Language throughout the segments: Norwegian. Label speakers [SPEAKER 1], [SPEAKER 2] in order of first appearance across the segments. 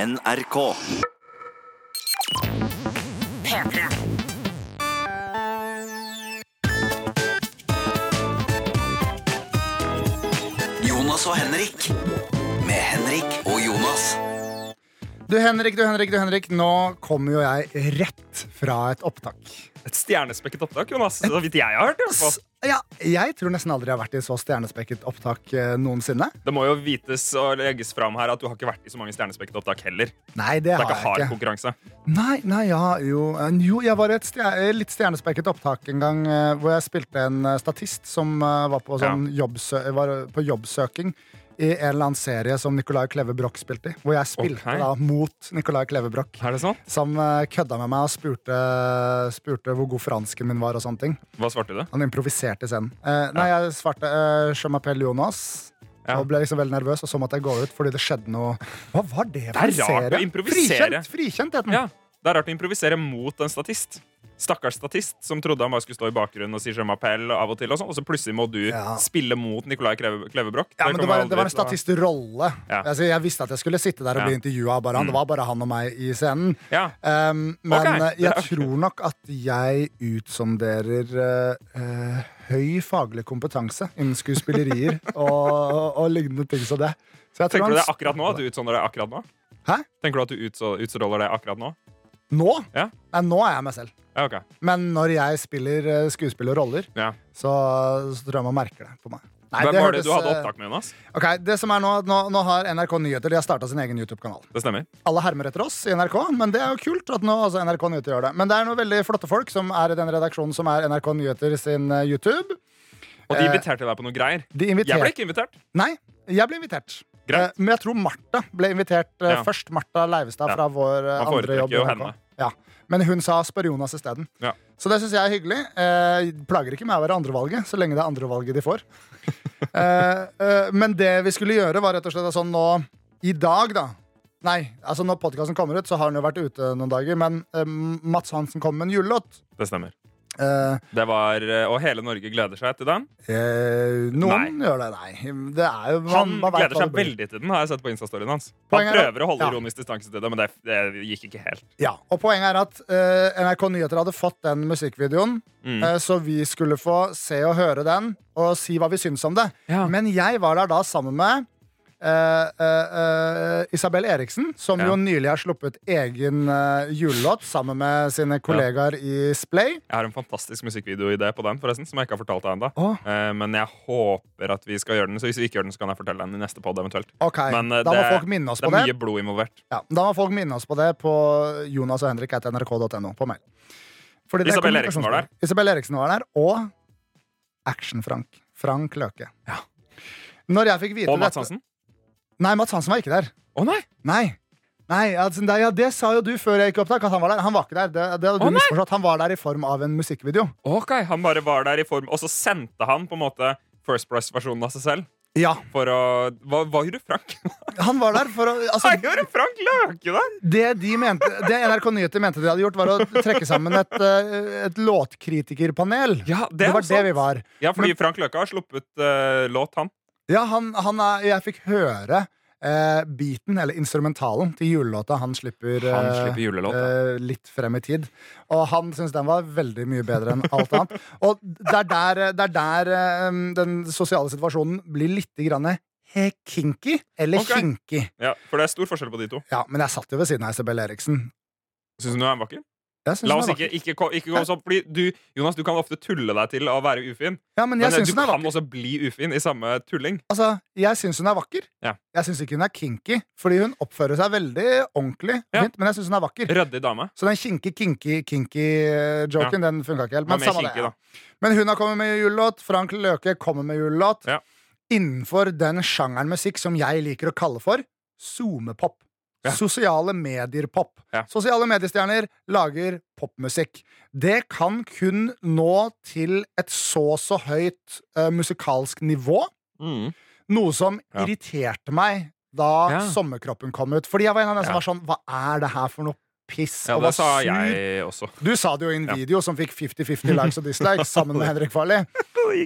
[SPEAKER 1] NRK. Jonas og Henrik. Med Henrik og Jonas.
[SPEAKER 2] Du Henrik, du Henrik, du Henrik, nå kommer jo jeg rett fra et opptak.
[SPEAKER 3] Et stjernespekket opptak, Jonas. Så vidt jeg har hørt. i hvert fall.
[SPEAKER 2] Ja, jeg tror nesten aldri jeg har vært i så stjernespekket opptak eh, noensinne.
[SPEAKER 3] Det må jo vites og legges fram her at du har ikke vært i så mange stjernespekket opptak heller. Det
[SPEAKER 2] Nei, det
[SPEAKER 3] er
[SPEAKER 2] har
[SPEAKER 3] ikke hard
[SPEAKER 2] jeg ikke.
[SPEAKER 3] konkurranse.
[SPEAKER 2] Nei, nei, ja, jo, eh, jo jeg var i et stjer eh, litt stjernespekket opptak en gang eh, hvor jeg spilte en eh, statist som eh, var på, sånn jobbsø var på jobbsøking i en eller annen serie som Nicolai Kleve Broch spilte i. Hvor jeg spilte
[SPEAKER 3] Ok.
[SPEAKER 2] da mot Nicolai Kleve Broch.
[SPEAKER 3] Er det sånn?
[SPEAKER 2] Som eh, kødda med meg og spurte, spurte hvor god fransken min var og sånne ting.
[SPEAKER 3] Hva svarte du?
[SPEAKER 2] Han improviserte scenen. Eh, nei, jeg svarte uh, Jean-Mapelle Jonas.
[SPEAKER 3] Ja.
[SPEAKER 2] Og ble liksom veldig nervøs, og så måtte jeg gå ut fordi det skjedde noe. Hva var det for
[SPEAKER 3] Det er
[SPEAKER 2] en
[SPEAKER 3] rart å
[SPEAKER 2] serie?
[SPEAKER 3] improvisere.
[SPEAKER 2] Frikjent, frikjent het den.
[SPEAKER 3] Ja, Det er rart å improvisere mot en statist. Stakkars statist som trodde han bare skulle stå i bakgrunnen og si je m'appelle av og til. Og sånn, og så plutselig må du
[SPEAKER 2] Ja.
[SPEAKER 3] spille mot Nicolai Kleve Klevebrok.
[SPEAKER 2] Ja, men det
[SPEAKER 3] kommer
[SPEAKER 2] var,
[SPEAKER 3] jeg aldri
[SPEAKER 2] det var en
[SPEAKER 3] til å-
[SPEAKER 2] statistrolle.
[SPEAKER 3] Ja.
[SPEAKER 2] Altså, jeg visste at jeg skulle sitte der og bli
[SPEAKER 3] Ja. Mm.
[SPEAKER 2] intervjua av bare han. Det var bare han og meg i scenen.
[SPEAKER 3] Ja.
[SPEAKER 2] Um, men
[SPEAKER 3] Ok,
[SPEAKER 2] eh,
[SPEAKER 3] det er
[SPEAKER 2] jeg tror nok at jeg utsonderer eh, eh, høy faglig kompetanse innen skuespillerier og, og, og lignende ting som det. Så jeg tror
[SPEAKER 3] Tenker du
[SPEAKER 2] han
[SPEAKER 3] det akkurat nå? At du utsonder deg akkurat nå?
[SPEAKER 2] Hæ?
[SPEAKER 3] Tenker du at du utso- utstråler det akkurat nå?
[SPEAKER 2] Nå?
[SPEAKER 3] Ja.
[SPEAKER 2] Nei, nå er jeg meg selv.
[SPEAKER 3] Ja, ok.
[SPEAKER 2] Men når jeg spiller eh, skuespill og roller,
[SPEAKER 3] Ja.
[SPEAKER 2] så, så tror jeg man merker det på meg. Nei,
[SPEAKER 3] Hvem var det
[SPEAKER 2] hørtes,
[SPEAKER 3] du hadde
[SPEAKER 2] eh,
[SPEAKER 3] opptak med, Jonas?
[SPEAKER 2] Ok, det som er Nå nå, nå har NRK Nyheter de har starta sin egen YouTube-kanal.
[SPEAKER 3] Det stemmer.
[SPEAKER 2] Alle hermer etter oss i NRK, men det er jo kult at nå også NRK Nyheter gjør det. Men det er noen veldig flotte folk som er i den redaksjonen som er NRK Nyheter sin eh, YouTube.
[SPEAKER 3] Og de
[SPEAKER 2] Eh,
[SPEAKER 3] inviterte deg på noe greier.
[SPEAKER 2] De
[SPEAKER 3] Jeg ble
[SPEAKER 2] inviterer
[SPEAKER 3] ikke invitert.
[SPEAKER 2] Nei, jeg ble invitert.
[SPEAKER 3] Greit.
[SPEAKER 2] Eh, Men jeg tror Martha ble invitert eh,
[SPEAKER 3] Ja.
[SPEAKER 2] først. Martha Leivestad
[SPEAKER 3] Ja.
[SPEAKER 2] fra vår eh,
[SPEAKER 3] Man
[SPEAKER 2] andre jobb.
[SPEAKER 3] foretrekker jo
[SPEAKER 2] i NRK.
[SPEAKER 3] henne.
[SPEAKER 2] Ja. Men hun sa 'spør Jonas isteden'.
[SPEAKER 3] Ja.
[SPEAKER 2] Så det syns jeg er hyggelig. Eh, plager ikke meg å være andrevalget, så lenge det er andrevalget de får. eh, eh, men det vi skulle gjøre, var rett og slett at sånn nå i dag, da. Nei, altså når podkasten kommer ut, så har den jo vært ute noen dager. Men eh, Mats Hansen kom med en julelåt.
[SPEAKER 3] Det stemmer.
[SPEAKER 2] Eh,
[SPEAKER 3] Det var, eh, og hele Norge gleder seg til den.
[SPEAKER 2] eh, noen gjør det, nei. Det er jo, man,
[SPEAKER 3] Han
[SPEAKER 2] man vet
[SPEAKER 3] gleder
[SPEAKER 2] hva
[SPEAKER 3] seg
[SPEAKER 2] det blir.
[SPEAKER 3] veldig til den, har jeg sett på Insta-storyen hans. Han
[SPEAKER 2] Poenget er-
[SPEAKER 3] prøver å holde
[SPEAKER 2] ja.
[SPEAKER 3] ironisk distanse til det, men det, det gikk ikke helt.
[SPEAKER 2] Ja, og poenget er at eh, NRK Nyheter hadde fått den musikkvideoen,
[SPEAKER 3] Mm.
[SPEAKER 2] eh, så vi skulle få se og høre den og si hva vi syns om det.
[SPEAKER 3] Ja.
[SPEAKER 2] Men jeg var der da sammen med eh, eh, eh, Isabel Eriksen, som
[SPEAKER 3] Ja.
[SPEAKER 2] jo nylig har sluppet egen eh, julelåt sammen med sine kollegaer i Splay.
[SPEAKER 3] Jeg har en fantastisk musikkvideoidé på den, forresten, som jeg ikke har fortalt deg ennå.
[SPEAKER 2] Åh.
[SPEAKER 3] Eh, Men jeg håper at vi skal gjøre den, så hvis vi ikke gjør den, så kan jeg fortelle den i neste pod eventuelt.
[SPEAKER 2] Ok,
[SPEAKER 3] Men eh,
[SPEAKER 2] Da må
[SPEAKER 3] det,
[SPEAKER 2] folk minne oss
[SPEAKER 3] det
[SPEAKER 2] på
[SPEAKER 3] er
[SPEAKER 2] det.
[SPEAKER 3] mye blod involvert.
[SPEAKER 2] Ja, da må folk minne oss på det på Jonas og Henrik etter nrk.no på mail. Fordi det er
[SPEAKER 3] Isabel Eriksen var der.
[SPEAKER 2] kommunikasjonsproblem. Isabel Eriksen var der, og Action-Frank. Frank Løke. Når jeg fikk vite
[SPEAKER 3] Og Mats
[SPEAKER 2] dette-
[SPEAKER 3] Hansen.
[SPEAKER 2] Nei, Mats Hansen var ikke der.
[SPEAKER 3] Å nei!
[SPEAKER 2] Nei. Nei, altså, det, ja, det sa jo du før jeg gikk i opptak, at han var der. Han var ikke der. Det, det hadde du
[SPEAKER 3] Å, nei.
[SPEAKER 2] misforstått. Han var der i form av en musikkvideo.
[SPEAKER 3] Ok, Han bare var der i form Og så sendte han på en måte First Price-versjonen av seg selv.
[SPEAKER 2] Ja,
[SPEAKER 3] For å Hva, hva gjorde Frank?
[SPEAKER 2] han var der for å altså,
[SPEAKER 3] Hva gjorde Frank Løke der?
[SPEAKER 2] det, de mente, det NRK Nyheter mente de hadde gjort, var å trekke sammen et, eh, et låtkritikerpanel.
[SPEAKER 3] Ja, det
[SPEAKER 2] det
[SPEAKER 3] er
[SPEAKER 2] var
[SPEAKER 3] sant.
[SPEAKER 2] det vi var.
[SPEAKER 3] Ja, fordi Frank Løke har sluppet eh, låt, han.
[SPEAKER 2] Ja, han, han er, jeg fikk høre eh, beaten, eller instrumentalen, til julelåta han slipper, eh,
[SPEAKER 3] Han slipper julelåt,
[SPEAKER 2] eh, litt frem i tid. Og han syns den var veldig mye bedre enn alt annet. Og det er der, eh, det er der eh, den sosiale situasjonen blir litt grann he- kinky, eller
[SPEAKER 3] Ok.
[SPEAKER 2] kinky.
[SPEAKER 3] Ja, For det er stor forskjell på de to.
[SPEAKER 2] Ja, men jeg satt jo ved siden av Isabel Eriksen.
[SPEAKER 3] Syns du hun er vakker?
[SPEAKER 2] Jeg syns
[SPEAKER 3] La
[SPEAKER 2] hun
[SPEAKER 3] oss
[SPEAKER 2] er
[SPEAKER 3] ikke,
[SPEAKER 2] vakker.
[SPEAKER 3] ikke, ko- ikke gå oss opp, fordi du, Jonas, du kan ofte tulle deg til å være ufin.
[SPEAKER 2] Ja, men
[SPEAKER 3] Men
[SPEAKER 2] jeg
[SPEAKER 3] eh,
[SPEAKER 2] syns
[SPEAKER 3] du
[SPEAKER 2] hun er
[SPEAKER 3] kan
[SPEAKER 2] vakker.
[SPEAKER 3] også bli ufin i samme tulling.
[SPEAKER 2] Altså, jeg syns hun er vakker.
[SPEAKER 3] Ja.
[SPEAKER 2] Jeg syns ikke hun er kinky, fordi hun oppfører seg veldig ordentlig. og
[SPEAKER 3] Ja.
[SPEAKER 2] Fint, men jeg syns hun er vakker.
[SPEAKER 3] Ryddig dame.
[SPEAKER 2] Så den kinky, kinky, kinky eh, joken, den funka ikke helt.
[SPEAKER 3] Var
[SPEAKER 2] Men,
[SPEAKER 3] mer
[SPEAKER 2] samme
[SPEAKER 3] kinky,
[SPEAKER 2] det,
[SPEAKER 3] da.
[SPEAKER 2] ja. men hun har kommet med julelåt. Frank Løke kommer med julelåt.
[SPEAKER 3] Ja.
[SPEAKER 2] Innenfor den sjangeren musikk som jeg liker å kalle for zoomepop.
[SPEAKER 3] Ja.
[SPEAKER 2] Sosiale medier-pop.
[SPEAKER 3] Ja.
[SPEAKER 2] Sosiale mediestjerner lager popmusikk. Det kan kun nå til et så så høyt eh, musikalsk nivå.
[SPEAKER 3] Mm.
[SPEAKER 2] Noe som
[SPEAKER 3] Ja.
[SPEAKER 2] irriterte meg da
[SPEAKER 3] Ja.
[SPEAKER 2] sommerkroppen kom ut. Fordi jeg var en av dem som
[SPEAKER 3] Ja.
[SPEAKER 2] var sånn Hva er det her for noe piss
[SPEAKER 3] Ja,
[SPEAKER 2] og
[SPEAKER 3] det
[SPEAKER 2] var
[SPEAKER 3] sa
[SPEAKER 2] sur.
[SPEAKER 3] jeg også.
[SPEAKER 2] Du sa det jo i en video som fikk 50-50 likes og dislikes sammen med Henrik Farley.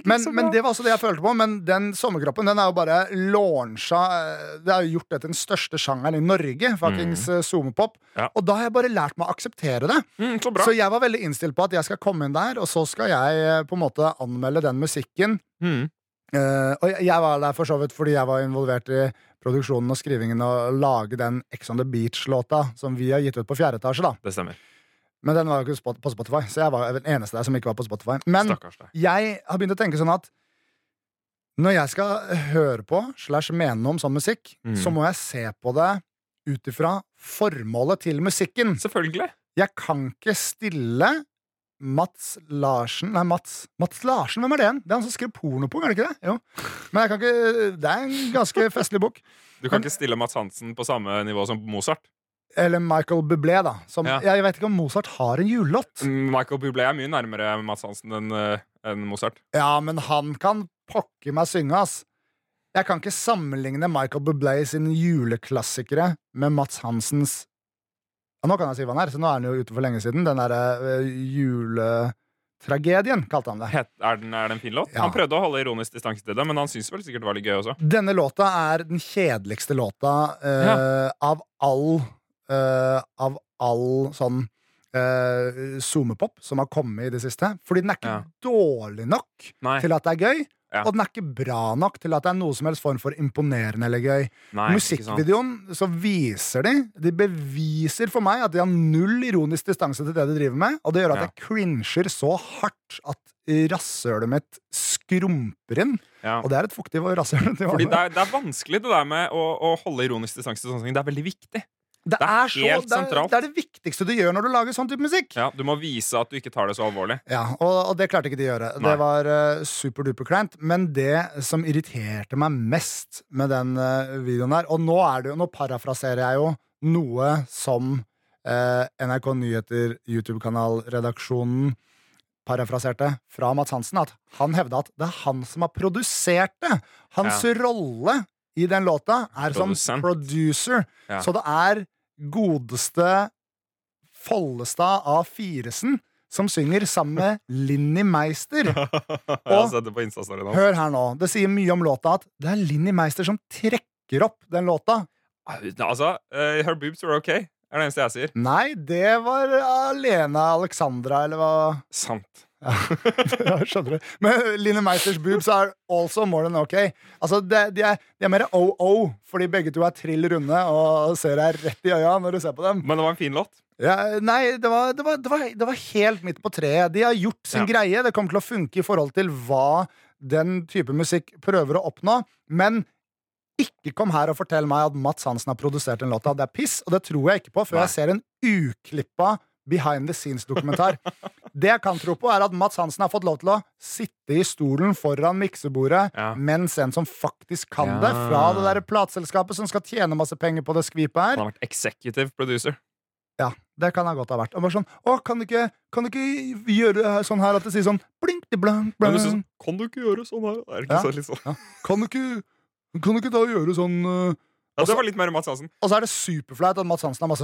[SPEAKER 2] Men, men det var også det jeg følte på. Men den sommerkroppen den er jo bare launcha eh, Det er jo gjort det til den største sjangeren i Norge. Fuckings eh, zoomepop.
[SPEAKER 3] Mm. Ja.
[SPEAKER 2] Og da har jeg bare lært meg å akseptere det.
[SPEAKER 3] Mm, så bra.
[SPEAKER 2] Så jeg var veldig innstilt på at jeg skal komme inn der, og så skal jeg eh, på en måte anmelde den musikken.
[SPEAKER 3] Mm.
[SPEAKER 2] Eh, og jeg- jeg var der for så vidt fordi jeg var involvert i produksjonen og skrivingen og lage den Ex on the Beach-låta som vi har gitt ut på fjerde etasje, da.
[SPEAKER 3] Det stemmer.
[SPEAKER 2] Men den var jo ikke spot- på Spotify, så jeg var den eneste der som ikke var på Spotify. Men
[SPEAKER 3] Stakkars deg.
[SPEAKER 2] jeg har begynt å tenke sånn at når jeg skal høre på slash mene noe om sånn musikk,
[SPEAKER 3] Mm.
[SPEAKER 2] så må jeg se på det ut ifra formålet til musikken.
[SPEAKER 3] Selvfølgelig.
[SPEAKER 2] Jeg kan ikke stille Mats Larsen Nei, Mats Mats Larsen, hvem er det igjen? Det er han som skriver pornopung, er det ikke det? Jo. Men jeg kan ikke Det er en ganske festlig bok.
[SPEAKER 3] Du kan ikke stille Mats Hansen på samme nivå som Mozart.
[SPEAKER 2] Eller Michael Bublé, da. Som,
[SPEAKER 3] Ja.
[SPEAKER 2] Jeg vet ikke om Mozart har en julelåt.
[SPEAKER 3] Michael Bublé er mye nærmere Mats Hansen enn eh, enn Mozart.
[SPEAKER 2] Ja, men han kan pokker meg synge, ass. Jeg kan ikke sammenligne Michael Bublé sine juleklassikere med Mats Hansens ja, Nå kan jeg si hva han er, så nå er han jo ute for lenge siden. Den derre eh, juletragedien, kalte han det.
[SPEAKER 3] Het, er, den, er det en fin låt?
[SPEAKER 2] Ja.
[SPEAKER 3] Han prøvde å holde ironisk distanse til det, men han syntes vel sikkert det var litt gøy også.
[SPEAKER 2] Denne låta er den kjedeligste låta eh, av all eh, Av all sånn uh, zoomepop som har kommet i det siste. Fordi den er ikke
[SPEAKER 3] Ja.
[SPEAKER 2] dårlig nok
[SPEAKER 3] Nei.
[SPEAKER 2] til at det er gøy,
[SPEAKER 3] Ja.
[SPEAKER 2] og den er ikke bra nok til at det er noe som helst form for imponerende eller gøy.
[SPEAKER 3] Nei ikke sant.
[SPEAKER 2] Musikkvideoen så viser de De beviser for meg at de har null ironisk distanse til det de driver med, og det gjør at
[SPEAKER 3] Ja.
[SPEAKER 2] jeg cringer så hardt at rasshølet mitt skrumper inn.
[SPEAKER 3] Ja.
[SPEAKER 2] Og det er et fuktig rasshøl. til
[SPEAKER 3] Fordi
[SPEAKER 2] vanlig.
[SPEAKER 3] det er, det er vanskelig det der med å, å holde ironisk distanse til sånne ting. Det er veldig viktig.
[SPEAKER 2] Det
[SPEAKER 3] Det er
[SPEAKER 2] er, så,
[SPEAKER 3] helt
[SPEAKER 2] det, er,
[SPEAKER 3] sentralt.
[SPEAKER 2] det er det viktigste du gjør når du lager sånn type musikk. Ja,
[SPEAKER 3] Ja, du må vise at du ikke tar det så alvorlig.
[SPEAKER 2] og, og det klarte ikke de å gjøre.
[SPEAKER 3] Nei.
[SPEAKER 2] Det var uh, superduper kleint. Men det som irriterte meg mest med den eh, videoen der Og nå, er det, jo- nå parafraserer jeg jo noe som eh, NRK Nyheter, YouTube-kanalredaksjonen parafraserte fra Mads Hansen, at han hevda at det er han som har produsert det. Hans rolle i den låta er som
[SPEAKER 3] Produsent.
[SPEAKER 2] producer.
[SPEAKER 3] Ja.
[SPEAKER 2] Så det er godeste Follestad av Firesen som synger sammen med Linni Meister.
[SPEAKER 3] Jeg har sett det på Insta-storyen hans.
[SPEAKER 2] Hør her nå. Det sier mye om låta at det er Linni Meister som trekker opp den låta.
[SPEAKER 3] Altså, eh, her boobs were ok, er det eneste jeg sier.
[SPEAKER 2] Nei, det var Alena Alexandra, eller hva
[SPEAKER 3] Sant.
[SPEAKER 2] Ja, Skjønner du. Men Linni Meisters boobs er also more than ok. Altså, det, de, er, de er mer OO, fordi begge to er trill runde og ser deg rett i øya når du ser på dem.
[SPEAKER 3] Men det var en fin låt.
[SPEAKER 2] Ja, nei, det var, det, var, det, var, det var helt midt på treet. De har gjort sin
[SPEAKER 3] Ja.
[SPEAKER 2] greie. Det kommer til å funke i forhold til hva den type musikk prøver å oppnå. Men ikke kom her og fortell meg at Mats Hansen har produsert den låta. Det er piss, og det tror jeg ikke på før
[SPEAKER 3] Nei.
[SPEAKER 2] jeg ser en uklippa behind the scenes-dokumentar. det jeg kan tro på, er at Mats Hansen har fått lov til å sitte i stolen foran miksebordet
[SPEAKER 3] Ja.
[SPEAKER 2] mens en som faktisk kan
[SPEAKER 3] Ja.
[SPEAKER 2] det, fra det derre plateselskapet som skal tjene masse penger på det skvipet her,
[SPEAKER 3] Han har vært executive producer.
[SPEAKER 2] ja, det kan jeg godt ha vært. Og bare sånn, å, kan du ikke, kan du ikke gjøre det her sånn her at det sier sånn blink de blank
[SPEAKER 3] Men
[SPEAKER 2] blank
[SPEAKER 3] du synes, sånn, kan du ikke gjøre sånn her? Er det ikke
[SPEAKER 2] Ja.
[SPEAKER 3] så litt sånn?
[SPEAKER 2] Kan du ikke, kan du ikke da gjøre sånn eh?»
[SPEAKER 3] Ja, det var litt mer Mats Hansen.
[SPEAKER 2] Og så er det superflaut at Mads Hansen har masse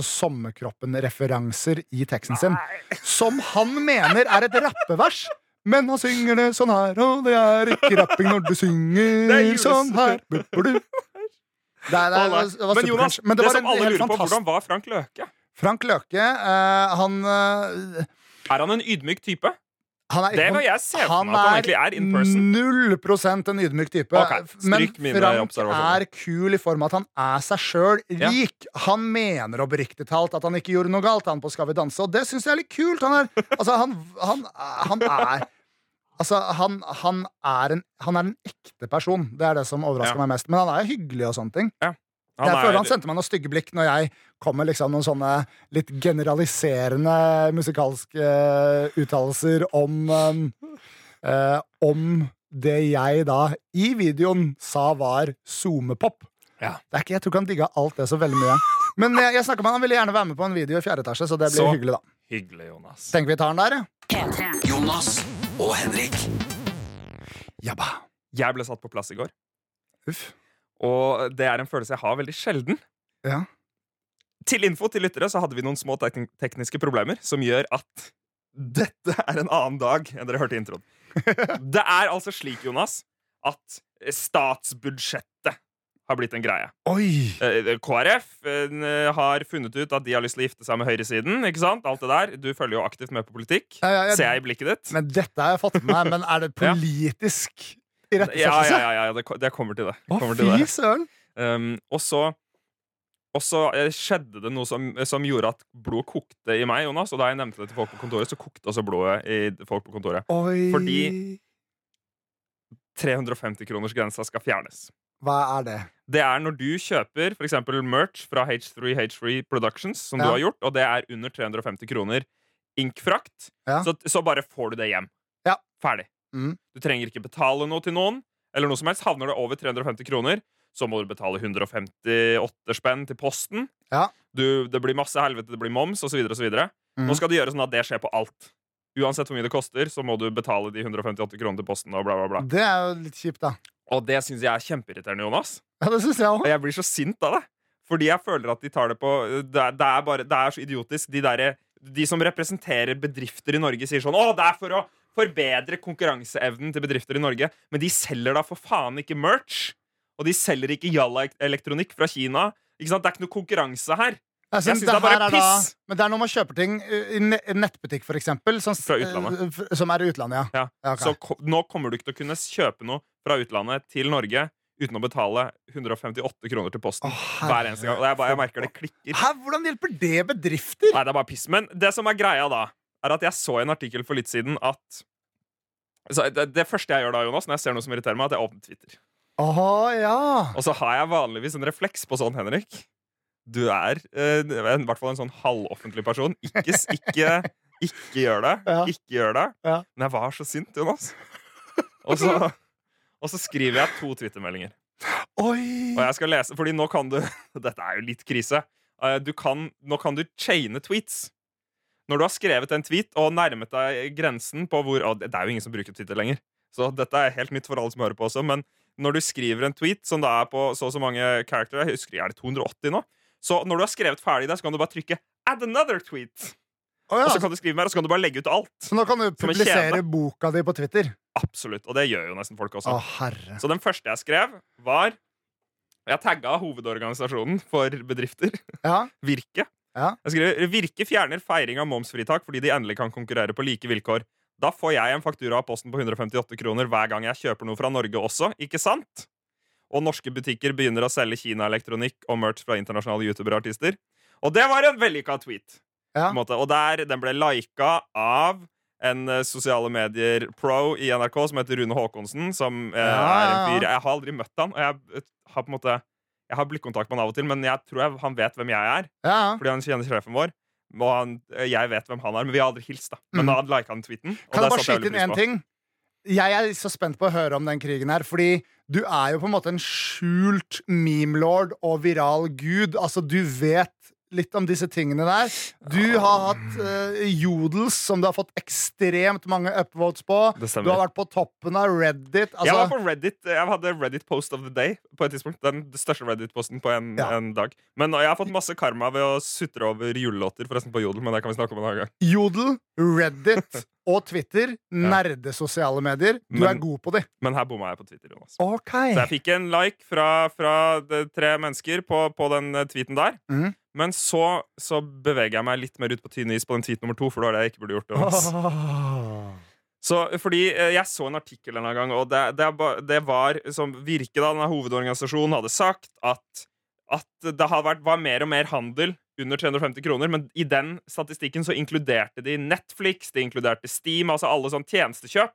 [SPEAKER 2] sommerkroppen-referanser i teksten sin. Som han mener er et rappevers. Men han synger det sånn her, og det er ikke rapping når du synger
[SPEAKER 3] Det er jules-
[SPEAKER 2] sånn her. Bu- bu- du. Det, er- det,
[SPEAKER 3] Å,
[SPEAKER 2] er-
[SPEAKER 3] nei.
[SPEAKER 2] det var
[SPEAKER 3] Men Jonas,
[SPEAKER 2] supercringe. Men det, var
[SPEAKER 3] som
[SPEAKER 2] en
[SPEAKER 3] alle
[SPEAKER 2] helt
[SPEAKER 3] lurer på,
[SPEAKER 2] fantastisk-
[SPEAKER 3] hvordan var Frank Løke?
[SPEAKER 2] Frank Løke, eh, han, eh,
[SPEAKER 3] Er han en ydmyk type?
[SPEAKER 2] han er ikke
[SPEAKER 3] Det
[SPEAKER 2] på-
[SPEAKER 3] vil jeg se for
[SPEAKER 2] Han Mm,
[SPEAKER 3] meg at han egentlig er in person.
[SPEAKER 2] null prosent en ydmyk type.
[SPEAKER 3] Ok,
[SPEAKER 2] men
[SPEAKER 3] stryk mine
[SPEAKER 2] Frank
[SPEAKER 3] observasjoner.
[SPEAKER 2] er kul i form av at han er seg sjøl
[SPEAKER 3] Ja.
[SPEAKER 2] rik. Han mener oppriktig talt at han ikke gjorde noe galt, han på Skal vi danse, og det syns jeg er litt kult. Han er, altså, han, han, han er Altså, han, han, er en, han er en ekte person. Det er det som overrasker
[SPEAKER 3] Ja.
[SPEAKER 2] meg mest. Men han er jo hyggelig og sånne ting.
[SPEAKER 3] Han
[SPEAKER 2] jeg føler han
[SPEAKER 3] er,
[SPEAKER 2] sendte meg noen stygge blikk når jeg kom med liksom noen sånne litt generaliserende musikalske eh, uttalelser om eh, eh, Om det jeg da i videoen sa var zoomepop.
[SPEAKER 3] Ja.
[SPEAKER 2] Det er ikke, jeg tror ikke han digga alt det så veldig mye. Men jeg, jeg snakket med han, han ville gjerne være med på en video i fjerde etasje, så det blir
[SPEAKER 3] Så.
[SPEAKER 2] hyggelig, da.
[SPEAKER 3] hyggelig, Jonas.
[SPEAKER 2] Tenker vi tar den der, ja.
[SPEAKER 1] Jonas og Henrik.
[SPEAKER 2] Jabba.
[SPEAKER 3] Jeg ble satt på plass i går,
[SPEAKER 2] Uff.
[SPEAKER 3] og det er en følelse jeg har veldig sjelden.
[SPEAKER 2] Ja.
[SPEAKER 3] Til info til lyttere så hadde vi noen små tekn- tekniske problemer som gjør at dette er en annen dag enn dere hørte i introen. Det er altså slik, Jonas, at statsbudsjettet har blitt en greie.
[SPEAKER 2] Oi!
[SPEAKER 3] Eh, KrF eh, har funnet ut at de har lyst til å gifte seg med høyresiden. ikke sant? Alt det der. Du følger jo aktivt med på politikk.
[SPEAKER 2] Ja, ja, ja.
[SPEAKER 3] Ser jeg i blikket ditt?
[SPEAKER 2] Men dette har jeg fått med meg, men er det
[SPEAKER 3] Ja.
[SPEAKER 2] politisk
[SPEAKER 3] Ja, ja,
[SPEAKER 2] irettesettelse?
[SPEAKER 3] ja, ja det, ko- det kommer til det.
[SPEAKER 2] sånn, Å,
[SPEAKER 3] Kommer til det.
[SPEAKER 2] fy søren!
[SPEAKER 3] Um, og så og så eh, skjedde det noe som, eh, som gjorde at blodet kokte i meg, Jonas. Og da jeg nevnte det til folk på kontoret, så kokte også blodet i folk på kontoret.
[SPEAKER 2] Oi.
[SPEAKER 3] Fordi- 350-kronersgrensa skal fjernes.
[SPEAKER 2] Hva er det?
[SPEAKER 3] Det er når du kjøper for eksempel merch fra H3H3 Productions, som
[SPEAKER 2] Ja.
[SPEAKER 3] du har gjort, og det er under 350 kroner inkfrakt,
[SPEAKER 2] Ja.
[SPEAKER 3] så, så bare får du det hjem.
[SPEAKER 2] Ja.
[SPEAKER 3] Ferdig.
[SPEAKER 2] Mm.
[SPEAKER 3] Du trenger ikke betale noe til noen, eller noe som helst. Havner det over 350 kroner, så må du betale 158 spenn til posten.
[SPEAKER 2] Ja.
[SPEAKER 3] Du, det blir masse helvete, det blir moms, osv. osv.
[SPEAKER 2] Mm.
[SPEAKER 3] Nå skal det gjøre sånn at det skjer på alt. Uansett hvor mye det koster, så må du betale de 158 kronene til posten og bla, bla, bla.
[SPEAKER 2] Det er jo litt kjipt, da.
[SPEAKER 3] Og det syns jeg er kjempeirriterende, Jonas.
[SPEAKER 2] Ja, det syns jeg òg.
[SPEAKER 3] Og jeg blir så sint av det. Fordi jeg føler at de tar det på Det er, det er, bare, det er så idiotisk. De, derre- de som representerer bedrifter i Norge, sier sånn Å, det er for å forbedre konkurranseevnen til bedrifter i Norge. Men de selger da for faen ikke merch. Og de selger ikke Jalla-elektronikk fra Kina. Ikke sant? Det er ikke noe konkurranse her.
[SPEAKER 2] Jeg
[SPEAKER 3] Jeg
[SPEAKER 2] synes det
[SPEAKER 3] synes det er bare
[SPEAKER 2] her er da,
[SPEAKER 3] piss.
[SPEAKER 2] men det er når man kjøper ting uh, i ne- i nettbutikk, for eksempel. Som,
[SPEAKER 3] Fra utlandet.
[SPEAKER 2] uh, f- Som er i utlandet, ja.
[SPEAKER 3] Ja,
[SPEAKER 2] ok.
[SPEAKER 3] Så ko nå kommer du ikke til å kunne kjøpe noe fra utlandet til Norge uten å betale 158 kroner til posten
[SPEAKER 2] Å,
[SPEAKER 3] hver eneste gang. Og jeg, bare, jeg merker det klikker.
[SPEAKER 2] Hæ, hvordan hjelper det bedrifter?
[SPEAKER 3] Nei, det er bare piss. Men det som er greia da, er at jeg så en artikkel for litt siden at så det, det første jeg gjør da, Jonas, når jeg ser noe som irriterer meg, er at jeg åpner Twitter.
[SPEAKER 2] Å ja.
[SPEAKER 3] Og så har jeg vanligvis en refleks på sånn, Henrik. Du er eh, en- i hvert fall en sånn halvoffentlig person. Ikke, s- ikke, ikke gjør det.
[SPEAKER 2] Ja.
[SPEAKER 3] Ikke gjør det.
[SPEAKER 2] Ja.
[SPEAKER 3] Men jeg var så sint, Jonas. Og så, og så skriver jeg to Twitter-meldinger.
[SPEAKER 2] Oi.
[SPEAKER 3] Og jeg skal lese, fordi nå kan du Dette er jo litt krise. Eh, Du kan, nå kan du chaine tweets. Når du har skrevet en tweet og nærmet deg grensen på hvor og Det det er jo ingen som bruker Twitter lenger, så dette er helt nytt for alle som hører på også. Men når du skriver en tweet som da er på så og så mange character, jeg husker, er det 280 nå? Så når du har skrevet ferdig det, så kan du bare trykke 'add another tweet'.
[SPEAKER 2] Å, ja.
[SPEAKER 3] Og så kan du skrive mer, og så kan du bare legge ut alt.
[SPEAKER 2] Så nå kan du
[SPEAKER 3] Som en
[SPEAKER 2] publisere
[SPEAKER 3] kjede.
[SPEAKER 2] boka di på Twitter?
[SPEAKER 3] Absolutt. Og det gjør jo nesten folk også.
[SPEAKER 2] Å, herre.
[SPEAKER 3] Så den første jeg skrev, var Jeg tagga hovedorganisasjonen for bedrifter.
[SPEAKER 2] Ja.
[SPEAKER 3] Virke.
[SPEAKER 2] Ja.
[SPEAKER 3] Jeg skriver Virke fjerner feiring av momsfritak fordi de endelig kan konkurrere på like vilkår. Da får jeg en faktura av posten på 158 kroner hver gang jeg kjøper noe fra Norge også, ikke sant? Og norske butikker begynner å selge Kina-elektronikk og merch fra internasjonale youtubere-artister. Og det var en vellykka tweet.
[SPEAKER 2] Ja.
[SPEAKER 3] på en måte. Og der, den ble lika av en eh, sosiale medier-pro i NRK som heter Rune Håkonsen. Som eh, er
[SPEAKER 2] Ja,
[SPEAKER 3] en
[SPEAKER 2] ja, ja.
[SPEAKER 3] fyr Jeg har aldri møtt han, og jeg eh, har på en måte Jeg har blikkontakt med han av og til, men jeg tror jeg, han vet hvem jeg er
[SPEAKER 2] ja.
[SPEAKER 3] fordi han kjenner sjefen vår. Og han, eh, jeg vet hvem han er, men vi har aldri hilst. da Men
[SPEAKER 2] Mhm.
[SPEAKER 3] da liket han tweeten. Og
[SPEAKER 2] Kan
[SPEAKER 3] det
[SPEAKER 2] jeg bare
[SPEAKER 3] satte jeg
[SPEAKER 2] skyte
[SPEAKER 3] veldig
[SPEAKER 2] inn én
[SPEAKER 3] pris på.
[SPEAKER 2] ting? Jeg er så spent på å høre om den krigen her, fordi du er jo på en måte en skjult memelord og viral gud. Altså, du vet litt om disse tingene der. Du har hatt eh, jodels som du har fått ekstremt mange upvotes på.
[SPEAKER 3] Det
[SPEAKER 2] Du har
[SPEAKER 3] stemmer.
[SPEAKER 2] vært på toppen av Reddit. Altså,
[SPEAKER 3] jeg var på Reddit Jeg hadde Reddit post of the day på et tidspunkt. Den største Reddit-posten på en,
[SPEAKER 2] Ja.
[SPEAKER 3] en dag. Men jeg har fått masse karma ved å sutre over julelåter, forresten på Jodel. Men det kan vi snakke om en annen gang.
[SPEAKER 2] Jodel, Reddit og Twitter. Nerdesosiale medier. Du
[SPEAKER 3] Men-
[SPEAKER 2] er god på de.
[SPEAKER 3] Men her bomma jeg på Twitter. Jonas
[SPEAKER 2] OK.
[SPEAKER 3] Så jeg fikk en like fra, fra de tre mennesker på, på den eh, tweeten der.
[SPEAKER 2] Mhm.
[SPEAKER 3] Men så, så beveger jeg meg litt mer ut på tynn is på den tweet nummer to, for det var det jeg ikke burde gjort. Jonas.
[SPEAKER 2] Åh.
[SPEAKER 3] Så, fordi eh, Jeg så en artikkel denne gang, og det, det, er ba- det var som Virke, da, denne hovedorganisasjonen, hadde sagt at, at det har vært, var mer og mer handel under 350 kroner, men i den statistikken så inkluderte de Netflix, de inkluderte Steam, altså alle sånn tjenestekjøp.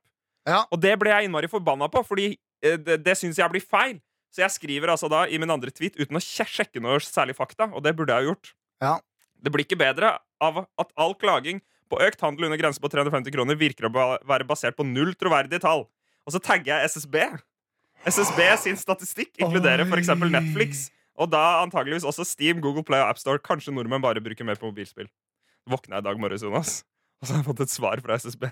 [SPEAKER 2] Ja.
[SPEAKER 3] Og det ble jeg innmari forbanna på, fordi eh, det, det syns jeg blir feil. Så jeg skriver altså da i min andre tweet uten å kje- sjekke noe særlig fakta, og det burde jeg jo gjort.
[SPEAKER 2] Ja.
[SPEAKER 3] Det blir ikke bedre av at all klaging på økt handel under grense på 350 kroner virker å ba- være basert på null troverdige tall. Og så tagger jeg SSB. SSB sin statistikk inkluderer f.eks.
[SPEAKER 2] Oi.
[SPEAKER 3] Netflix. Og da antageligvis også Steam, Google Play og AppStore. Kanskje nordmenn bare bruker mer på mobilspill. Våkna jeg i dag morges, Jonas, og så har jeg fått et svar fra SSB.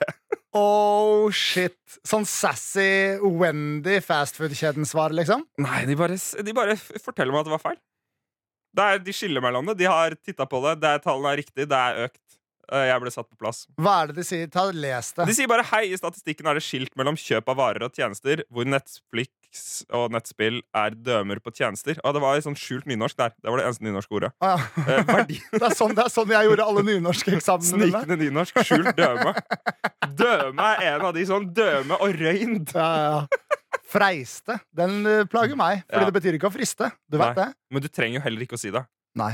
[SPEAKER 2] Oh shit. Sånn sassy Wendy fastfood-kjeden-svar, liksom?
[SPEAKER 3] Nei, de bare, s- de bare f- forteller meg at det var feil. Det er, de skiller mellom det. De har titta på det. det er, tallene er riktig. Det er økt. Eh, Jeg ble satt på plass.
[SPEAKER 2] Hva er det de sier? Ta, les det.
[SPEAKER 3] De sier bare hei, i statistikken er det skilt mellom kjøp av varer og tjenester, hvor Netflix og nettspill er dømer på tjenester. Ah, det var sånn skjult nynorsk der. Det var det eneste nynorske ordet.
[SPEAKER 2] Ah,
[SPEAKER 3] Eh,
[SPEAKER 2] ja.
[SPEAKER 3] verdi,
[SPEAKER 2] Det er, sånn, det er sånn jeg gjorde alle nynorskeksamene mine.
[SPEAKER 3] snikende nynorsk, skjult døme. Døme er en av de sånn døme og røynd.
[SPEAKER 2] Ja, ja, ja. Freiste. Den eh, plager meg, Fordi
[SPEAKER 3] Ja.
[SPEAKER 2] det betyr ikke å friste. Du vet det?
[SPEAKER 3] Men du trenger jo heller ikke å si det.
[SPEAKER 2] Nei.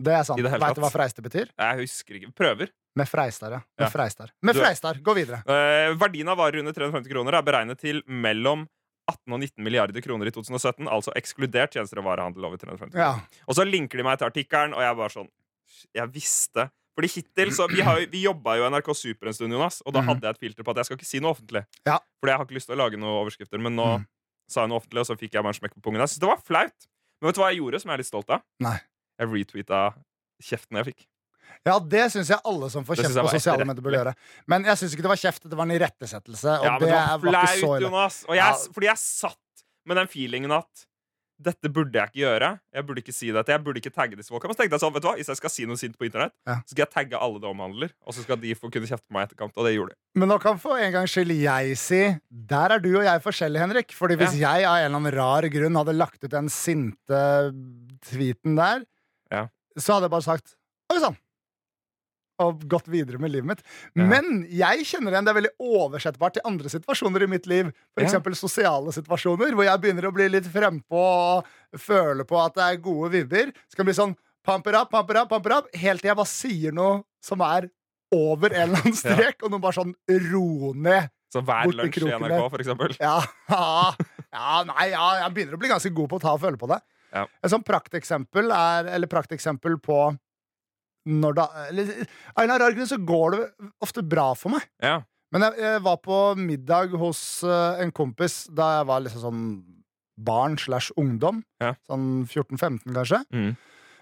[SPEAKER 2] Det er sant.
[SPEAKER 3] I det hele
[SPEAKER 2] Veit du hva
[SPEAKER 3] tatt.
[SPEAKER 2] freiste betyr?
[SPEAKER 3] Jeg husker ikke. Prøver.
[SPEAKER 2] Med freistar, ja. Med
[SPEAKER 3] Ja.
[SPEAKER 2] freistar. Med
[SPEAKER 3] Du-
[SPEAKER 2] freistar. Gå videre.
[SPEAKER 3] Eh, verdien av varer under 350 kroner er beregnet til mellom 18 og 19 milliarder kroner i 2017, altså ekskludert tjenester og varehandel over 350 kroner.
[SPEAKER 2] Ja.
[SPEAKER 3] Og så linker de meg til artikkelen, og jeg er bare sånn Jeg visste. Fordi hittil, så Vi, har jo- vi jobba jo i NRK Super en stund, Jonas, og da
[SPEAKER 2] Mhm.
[SPEAKER 3] hadde jeg et filter på at jeg skal ikke si noe offentlig.
[SPEAKER 2] Ja.
[SPEAKER 3] Fordi jeg har ikke lyst til å lage noen overskrifter. Men nå
[SPEAKER 2] Mhm.
[SPEAKER 3] sa jeg noe offentlig, og så fikk jeg bare en smekk på pungen. Jeg synes det var flaut. Men vet du hva jeg gjorde, som jeg er litt stolt av?
[SPEAKER 2] Nei.
[SPEAKER 3] Jeg retweeta kjeften jeg fikk.
[SPEAKER 2] ja, det syns jeg alle som får
[SPEAKER 3] Det synes
[SPEAKER 2] kjeft
[SPEAKER 3] jeg
[SPEAKER 2] på
[SPEAKER 3] var
[SPEAKER 2] sosiale medier, burde gjøre. Men jeg syns ikke det var kjeft. Det var en irettesettelse. Og
[SPEAKER 3] Ja, men
[SPEAKER 2] det
[SPEAKER 3] det
[SPEAKER 2] er-
[SPEAKER 3] var
[SPEAKER 2] var ikke så
[SPEAKER 3] flaut,
[SPEAKER 2] ille.
[SPEAKER 3] Jonas. Og jeg,
[SPEAKER 2] Ja.
[SPEAKER 3] Fordi jeg satt med den feelingen at dette burde jeg ikke gjøre. Jeg burde ikke si dette. Jeg burde ikke tagge disse folka. Men så tenkte jeg sånn, vet du hva, Hvis jeg skal si noe sint på internett,
[SPEAKER 2] Ja.
[SPEAKER 3] så skal jeg tagge alle det omhandler. Og så skal de få kunne kjefte på meg i etterkant. Og det gjorde de.
[SPEAKER 2] Men nå kan for en gangs skyld jeg si Der er du og jeg forskjellige, Henrik. Fordi hvis jeg av en eller annen rar grunn hadde lagt ut den sinte tweeten der,
[SPEAKER 3] Ja.
[SPEAKER 2] så hadde jeg bare sagt Oi sann! Og gått videre med livet mitt.
[SPEAKER 3] Ja.
[SPEAKER 2] Men jeg kjenner igjen det er veldig oversettbart til andre situasjoner i mitt liv. For
[SPEAKER 3] Ja.
[SPEAKER 2] eksempel sosiale situasjoner, hvor jeg begynner å bli litt frempå og føle på at det er gode vibber. Så kan det bli sånn pamper up, pamper up, pamper up, helt til jeg bare sier noe som er over en eller annen strek, og noen bare sånn ro ned.
[SPEAKER 3] Så hver
[SPEAKER 2] Bort i
[SPEAKER 3] lunsj i
[SPEAKER 2] kroken
[SPEAKER 3] NRK,
[SPEAKER 2] der.
[SPEAKER 3] for eksempel.
[SPEAKER 2] Ja, ja, nei, ja, jeg begynner å bli ganske god på å ta og føle på det.
[SPEAKER 3] Ja.
[SPEAKER 2] Et sånt prakteksempel er Eller prakteksempel på når da eller, Av en eller annen rar grunn så går det ofte bra for meg.
[SPEAKER 3] Ja.
[SPEAKER 2] Men jeg, jeg var på middag hos eh, en kompis da jeg var liksom sånn barn slash ungdom.
[SPEAKER 3] Ja.
[SPEAKER 2] Sånn 14-15, kanskje.
[SPEAKER 3] Mm.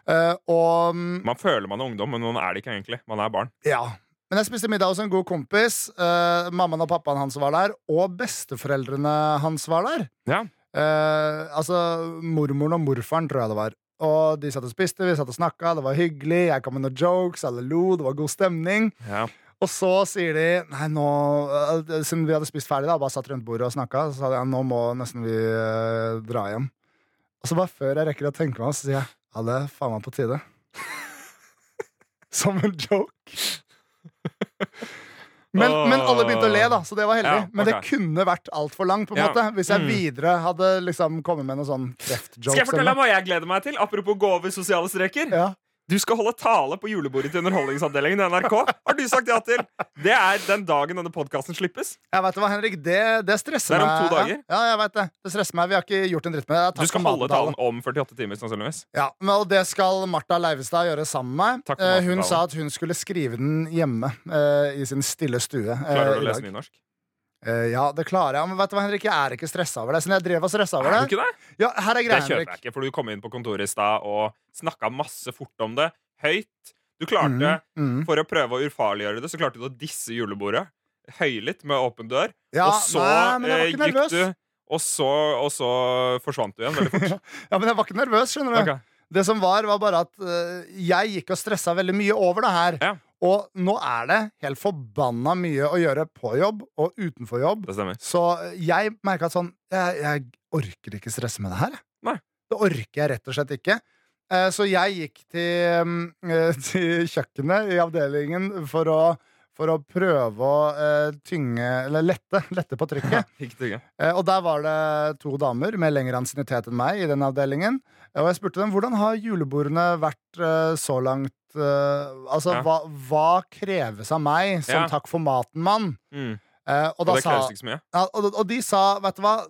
[SPEAKER 2] Eh, og
[SPEAKER 3] Man føler man er ungdom, men man er det ikke egentlig. Man er barn.
[SPEAKER 2] Ja. Men jeg spiste middag hos en god kompis. Eh, mammaen og pappaen hans var der, og besteforeldrene hans var der.
[SPEAKER 3] Ja.
[SPEAKER 2] Eh, altså mormoren og morfaren, tror jeg det var. Og de satt og spiste, vi satt og snakka, det var hyggelig, jeg kom med noen jokes, alle lo, det var god stemning.
[SPEAKER 3] Ja.
[SPEAKER 2] Og så sier de Nei, nå eh, Siden vi hadde spist ferdig, da, bare satt rundt bordet og snakka, så sa de ja, nå må nesten vi eh, dra hjem. Og så bare før jeg rekker å tenke meg om, så sier jeg ja, det er faen meg på tide. Som en joke. Men, men alle begynte å le, da, så det var heldig.
[SPEAKER 3] Ja,
[SPEAKER 2] Men det
[SPEAKER 3] ok.
[SPEAKER 2] kunne vært altfor langt. på en
[SPEAKER 3] Ja.
[SPEAKER 2] måte Hvis jeg
[SPEAKER 3] Mm.
[SPEAKER 2] videre hadde liksom kommet med noen sånn kreftjokes.
[SPEAKER 3] Skal jeg fortelle
[SPEAKER 2] eller
[SPEAKER 3] deg hva jeg gleder meg til? Apropos gå over sosiale streker.
[SPEAKER 2] noe. Ja.
[SPEAKER 3] Du skal holde tale på julebordet til Underholdningsavdelingen i NRK. Har du sagt ja til? Det er den dagen denne podkasten slippes.
[SPEAKER 2] Jeg vet det, hva, Henrik, det, det stresser
[SPEAKER 3] Det
[SPEAKER 2] meg.
[SPEAKER 3] er om to dager.
[SPEAKER 2] Ja, ja, jeg vet det. det stresser meg. Vi har ikke gjort en dritt med det. det. er
[SPEAKER 3] Du
[SPEAKER 2] takk
[SPEAKER 3] skal
[SPEAKER 2] for
[SPEAKER 3] holde
[SPEAKER 2] matetalen.
[SPEAKER 3] talen om 48 timer, sannsynligvis.
[SPEAKER 2] Ja, men, og det skal Martha Leivestad gjøre sammen med meg.
[SPEAKER 3] Takk for
[SPEAKER 2] Eh,
[SPEAKER 3] matetalen.
[SPEAKER 2] hun sa at hun skulle skrive den hjemme eh, i sin stille stue. eh, i
[SPEAKER 3] Klarer du å
[SPEAKER 2] dag.
[SPEAKER 3] lese nynorsk?
[SPEAKER 2] Eh, ja, det klarer jeg. Men vet du hva, Henrik, jeg er ikke stressa over det. Siden jeg drev og stressa
[SPEAKER 3] Er
[SPEAKER 2] over
[SPEAKER 3] du
[SPEAKER 2] det.
[SPEAKER 3] ikke det?
[SPEAKER 2] Ja, her er
[SPEAKER 3] Det
[SPEAKER 2] greia,
[SPEAKER 3] kjøper
[SPEAKER 2] Henrik.
[SPEAKER 3] jeg ikke, for du kom inn på kontoret i stad og snakka masse fort om det. Høyt. Du klarte,
[SPEAKER 2] Mm, mm.
[SPEAKER 3] for å prøve å ufarliggjøre det, så klarte du å disse julebordet. Høylytt med åpen dør.
[SPEAKER 2] Ja,
[SPEAKER 3] og så
[SPEAKER 2] nei, men jeg var
[SPEAKER 3] eh,
[SPEAKER 2] ikke nervøs.
[SPEAKER 3] gikk du, og så, og så forsvant du igjen veldig fort.
[SPEAKER 2] Ja, men jeg var ikke nervøs, skjønner du.
[SPEAKER 3] Ok.
[SPEAKER 2] Det som var, var bare at øh, jeg gikk og stressa veldig mye over det her.
[SPEAKER 3] Ja.
[SPEAKER 2] Og nå er det helt forbanna mye å gjøre på jobb og utenfor jobb.
[SPEAKER 3] Det stemmer.
[SPEAKER 2] Så øh, jeg merka at sånn jeg, jeg orker ikke stresse med det her. jeg.
[SPEAKER 3] Nei.
[SPEAKER 2] Det orker jeg rett og slett ikke. Eh, Så jeg gikk til, mm, eh, til kjøkkenet i avdelingen for å, for å prøve å eh, tynge Eller lette, lette på trykket.
[SPEAKER 3] Ikke tygge.
[SPEAKER 2] Eh, Og der var det to damer med lengre ansiennitet enn meg i den avdelingen. Eh, Og jeg spurte dem hvordan har julebordene vært eh, så langt eh, Altså,
[SPEAKER 3] Ja.
[SPEAKER 2] hva, hva kreves av meg som
[SPEAKER 3] Ja.
[SPEAKER 2] takk for maten-mann?
[SPEAKER 3] Mm.
[SPEAKER 2] Eh, og,
[SPEAKER 3] Og
[SPEAKER 2] da
[SPEAKER 3] det
[SPEAKER 2] sa,
[SPEAKER 3] kreves ikke så mye.
[SPEAKER 2] ja, og, og de sa, vet du hva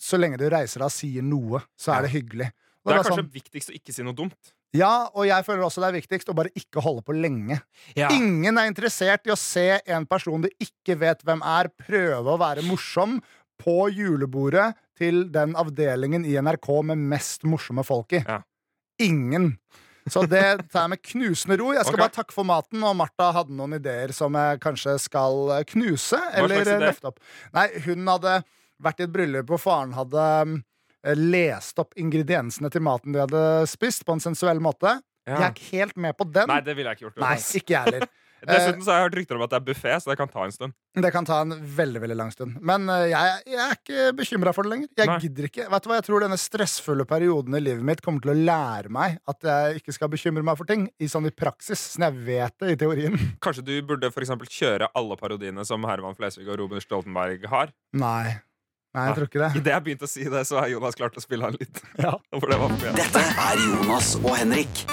[SPEAKER 2] Så lenge du reiser deg og sier noe, så
[SPEAKER 3] Ja.
[SPEAKER 2] er det hyggelig. Og
[SPEAKER 3] Det
[SPEAKER 2] det
[SPEAKER 3] er
[SPEAKER 2] var
[SPEAKER 3] kanskje
[SPEAKER 2] sånn,
[SPEAKER 3] viktigst å ikke si noe dumt.
[SPEAKER 2] ja, og jeg føler også det er viktigst å bare ikke holde på lenge. Ingen er interessert i å se en person du ikke vet hvem er, prøve å være morsom på julebordet til den avdelingen i NRK med mest morsomme folk i.
[SPEAKER 3] Ja.
[SPEAKER 2] Ingen. Så det tar jeg med knusende ro. Jeg skal
[SPEAKER 3] Ok.
[SPEAKER 2] bare takke for maten, og Martha hadde noen ideer som jeg kanskje skal eh, knuse
[SPEAKER 3] slags
[SPEAKER 2] eller
[SPEAKER 3] ideer?
[SPEAKER 2] løfte opp. Nei, hun hadde vært i et bryllup hvor faren hadde um, eh, leste opp ingrediensene til maten de hadde spist, på en sensuell måte. Jeg er ikke helt med på den.
[SPEAKER 3] Nei, det ville jeg ikke gjort.
[SPEAKER 2] Nei, Eh. ikke jeg heller.
[SPEAKER 3] Dessuten så har jeg hørt rykter om at det er buffé, så det kan ta en stund.
[SPEAKER 2] Det kan ta en veldig veldig lang stund. Men eh, jeg, jeg er ikke bekymra for det lenger. Jeg
[SPEAKER 3] Nei.
[SPEAKER 2] gidder ikke. Vet du hva, jeg tror denne stressfulle perioden i livet mitt kommer til å lære meg at jeg ikke skal bekymre meg for ting. I sånn i praksis, sånn jeg vet det i teorien.
[SPEAKER 3] Kanskje du burde for eksempel kjøre alle parodiene som Herman Flesvig og Robin Stoltenberg har?
[SPEAKER 2] Nei. Nei,
[SPEAKER 3] Nei.
[SPEAKER 2] jeg tror ikke det.
[SPEAKER 3] Idet jeg begynte å si det, så har Jonas klart å spille han litt.
[SPEAKER 2] Ja.
[SPEAKER 3] For det var for mye.
[SPEAKER 1] Dette er Jonas og Henrik.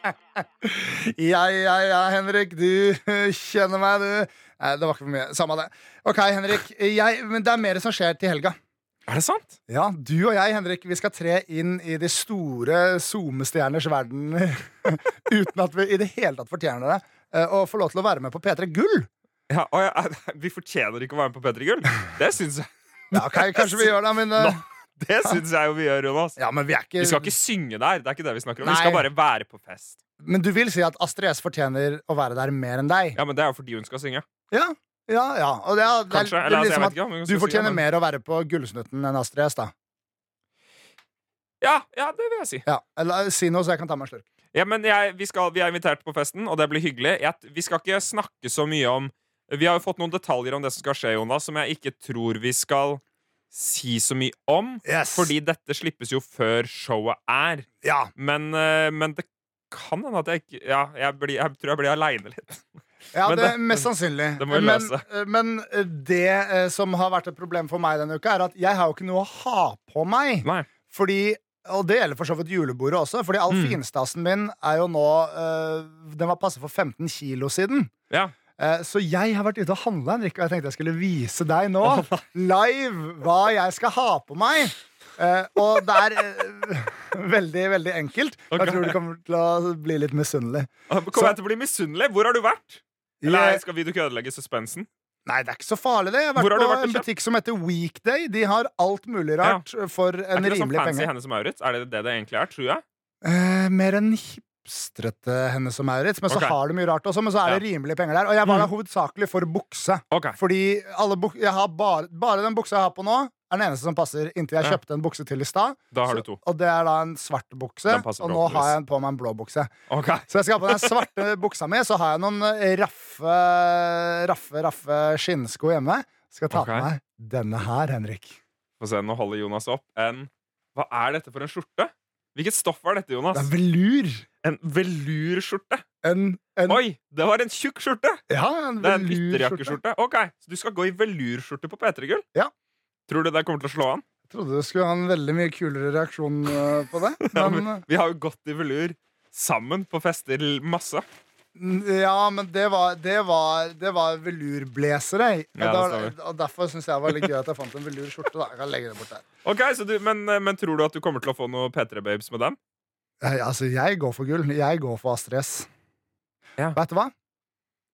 [SPEAKER 2] Jeg, jeg, jeg, Henrik, du kjenner meg, du. Nei, det var ikke for mye. Samme det. Ok, Henrik. Jeg, men det er mer som skjer til helga.
[SPEAKER 3] Er det sant?
[SPEAKER 2] Ja, du og jeg, Henrik, vi skal tre inn i de store SoMe-stjerners verden uten at vi i det hele tatt fortjener det. eh, Og få lov til å være med på P3 Gull.
[SPEAKER 3] Ja, og jeg, vi fortjener ikke å være med på P3 Gull. Det syns jeg,
[SPEAKER 2] Ja, ok, kanskje vi gjør det, men eh,
[SPEAKER 3] Nå. det syns jeg jo vi gjør, Jonas.
[SPEAKER 2] ja, men vi er ikke,
[SPEAKER 3] Vi skal ikke synge der. det er ikke det vi snakker om
[SPEAKER 2] Nei.
[SPEAKER 3] Vi skal bare være på fest.
[SPEAKER 2] Men du vil si at Astrid S fortjener å være der mer enn deg?
[SPEAKER 3] Ja, Men det er jo fordi hun skal synge.
[SPEAKER 2] Ja, ja. ja. Og det er, det er,
[SPEAKER 3] Kanskje.
[SPEAKER 2] det
[SPEAKER 3] Eller,
[SPEAKER 2] er
[SPEAKER 3] altså, jeg
[SPEAKER 2] liksom
[SPEAKER 3] vet
[SPEAKER 2] at
[SPEAKER 3] ikke om hun
[SPEAKER 2] du
[SPEAKER 3] skal synge,
[SPEAKER 2] fortjener
[SPEAKER 3] men-
[SPEAKER 2] mer å være på Gullsnutten enn Astrid S, da.
[SPEAKER 3] Ja, ja, det vil jeg si.
[SPEAKER 2] Ja, eller Si noe, så jeg kan ta meg en slurk.
[SPEAKER 3] Ja, men jeg, vi, skal, vi er invitert på festen, og det blir hyggelig. Jeg, vi skal ikke snakke så mye om Vi har jo fått noen detaljer om det som skal skje, Jonas, som jeg ikke tror vi skal si så mye om.
[SPEAKER 2] Yes.
[SPEAKER 3] Fordi dette slippes jo før showet er.
[SPEAKER 2] Ja.
[SPEAKER 3] Men, eh, men det kan hende at jeg ikke Ja, jeg, blir, jeg tror jeg blir aleine litt.
[SPEAKER 2] Ja,
[SPEAKER 3] Men
[SPEAKER 2] det,
[SPEAKER 3] det-
[SPEAKER 2] mest sannsynlig.
[SPEAKER 3] det må vi
[SPEAKER 2] men,
[SPEAKER 3] løse.
[SPEAKER 2] eh, men eh, det eh, som har vært et problem for meg denne uka, er at jeg har jo ikke noe å ha på meg.
[SPEAKER 3] Nei.
[SPEAKER 2] Fordi, og det gjelder for så vidt julebordet også, fordi all
[SPEAKER 3] Mm.
[SPEAKER 2] finstasen min er jo nå eh, Den var passe for 15 kilo siden.
[SPEAKER 3] Ja.
[SPEAKER 2] Eh, Så jeg har vært ute og handla, Henrik, og jeg tenkte jeg skulle vise deg nå, live, hva jeg skal ha på meg. Eh, og det er eh, veldig, veldig enkelt.
[SPEAKER 3] Ok.
[SPEAKER 2] Jeg tror du kommer til å bli litt misunnelig.
[SPEAKER 3] Kommer
[SPEAKER 2] Så-
[SPEAKER 3] jeg til å bli misunnelig? Hvor har du vært? Eller skal vi du ikke ødelegge suspensen?
[SPEAKER 2] Nei, det er ikke så farlig, det. Jeg har
[SPEAKER 3] Hvor
[SPEAKER 2] vært
[SPEAKER 3] har du
[SPEAKER 2] på
[SPEAKER 3] vært og
[SPEAKER 2] en
[SPEAKER 3] kjøpt?
[SPEAKER 2] butikk som heter Weekday. De har alt mulig rart for
[SPEAKER 3] Er
[SPEAKER 2] en
[SPEAKER 3] ikke det sånn
[SPEAKER 2] rimelig
[SPEAKER 3] fancy
[SPEAKER 2] penge.
[SPEAKER 3] Hennes Maurits? Er det det det egentlig er? Tror jeg.
[SPEAKER 2] Eh, mer enn hipstrete Hennes og Maurits. Men så
[SPEAKER 3] Ok. Mm.
[SPEAKER 2] har de mye rart også, men så er det rimelige penger der. Og jeg var der hovedsakelig for bukse.
[SPEAKER 3] Ok.
[SPEAKER 2] Fordi alle buk jeg har bare, bare den buksa jeg har på nå, er den eneste som passer, inntil jeg
[SPEAKER 3] Ja.
[SPEAKER 2] kjøpte en bukse til i stad.
[SPEAKER 3] Da har
[SPEAKER 2] Så-
[SPEAKER 3] du to.
[SPEAKER 2] Og det er da en svart bukse.
[SPEAKER 3] Den passer
[SPEAKER 2] Og nå
[SPEAKER 3] forhåpentligvis.
[SPEAKER 2] har jeg på meg en blå bukse.
[SPEAKER 3] Ok.
[SPEAKER 2] Så jeg skal ha på den svarte buksa mi, så har jeg noen eh, raffe, raffe, raffe skinnsko hjemme. Skal ta
[SPEAKER 3] Ok.
[SPEAKER 2] på meg denne her, Henrik.
[SPEAKER 3] Få se, nå holder Jonas opp en Hva er dette for en skjorte? Hvilket stoff er dette,
[SPEAKER 2] Det
[SPEAKER 3] Jonas?
[SPEAKER 2] er velur.
[SPEAKER 3] En velurskjorte.
[SPEAKER 2] En, en,
[SPEAKER 3] Oi, det var en tjukk skjorte!
[SPEAKER 2] ja, en
[SPEAKER 3] Det er en
[SPEAKER 2] velurskjorte.
[SPEAKER 3] ytterjakkeskjorte. Ok, Så du skal gå i velurskjorte på P3 Gull?
[SPEAKER 2] Ja.
[SPEAKER 3] Tror du det kommer til å slå an?
[SPEAKER 2] Jeg trodde du skulle ha en veldig mye kulere reaksjon eh, på det.
[SPEAKER 3] Ja,
[SPEAKER 2] Men,
[SPEAKER 3] men Vi har jo gått i velur sammen på fester masse.
[SPEAKER 2] eh, ja, men det var, det var, det var velurblazere. Og,
[SPEAKER 3] Ja, det
[SPEAKER 2] da- og derfor syns jeg det var litt gøy at jeg fant en velurskjorte. da. Jeg kan legge det bort der.
[SPEAKER 3] Ok, så du, men, men tror du at du kommer til å få noe P3-babes med dem?
[SPEAKER 2] Eh, Altså, jeg går for gull. Jeg går for Astrid S.
[SPEAKER 3] Ja.
[SPEAKER 2] Vet du hva?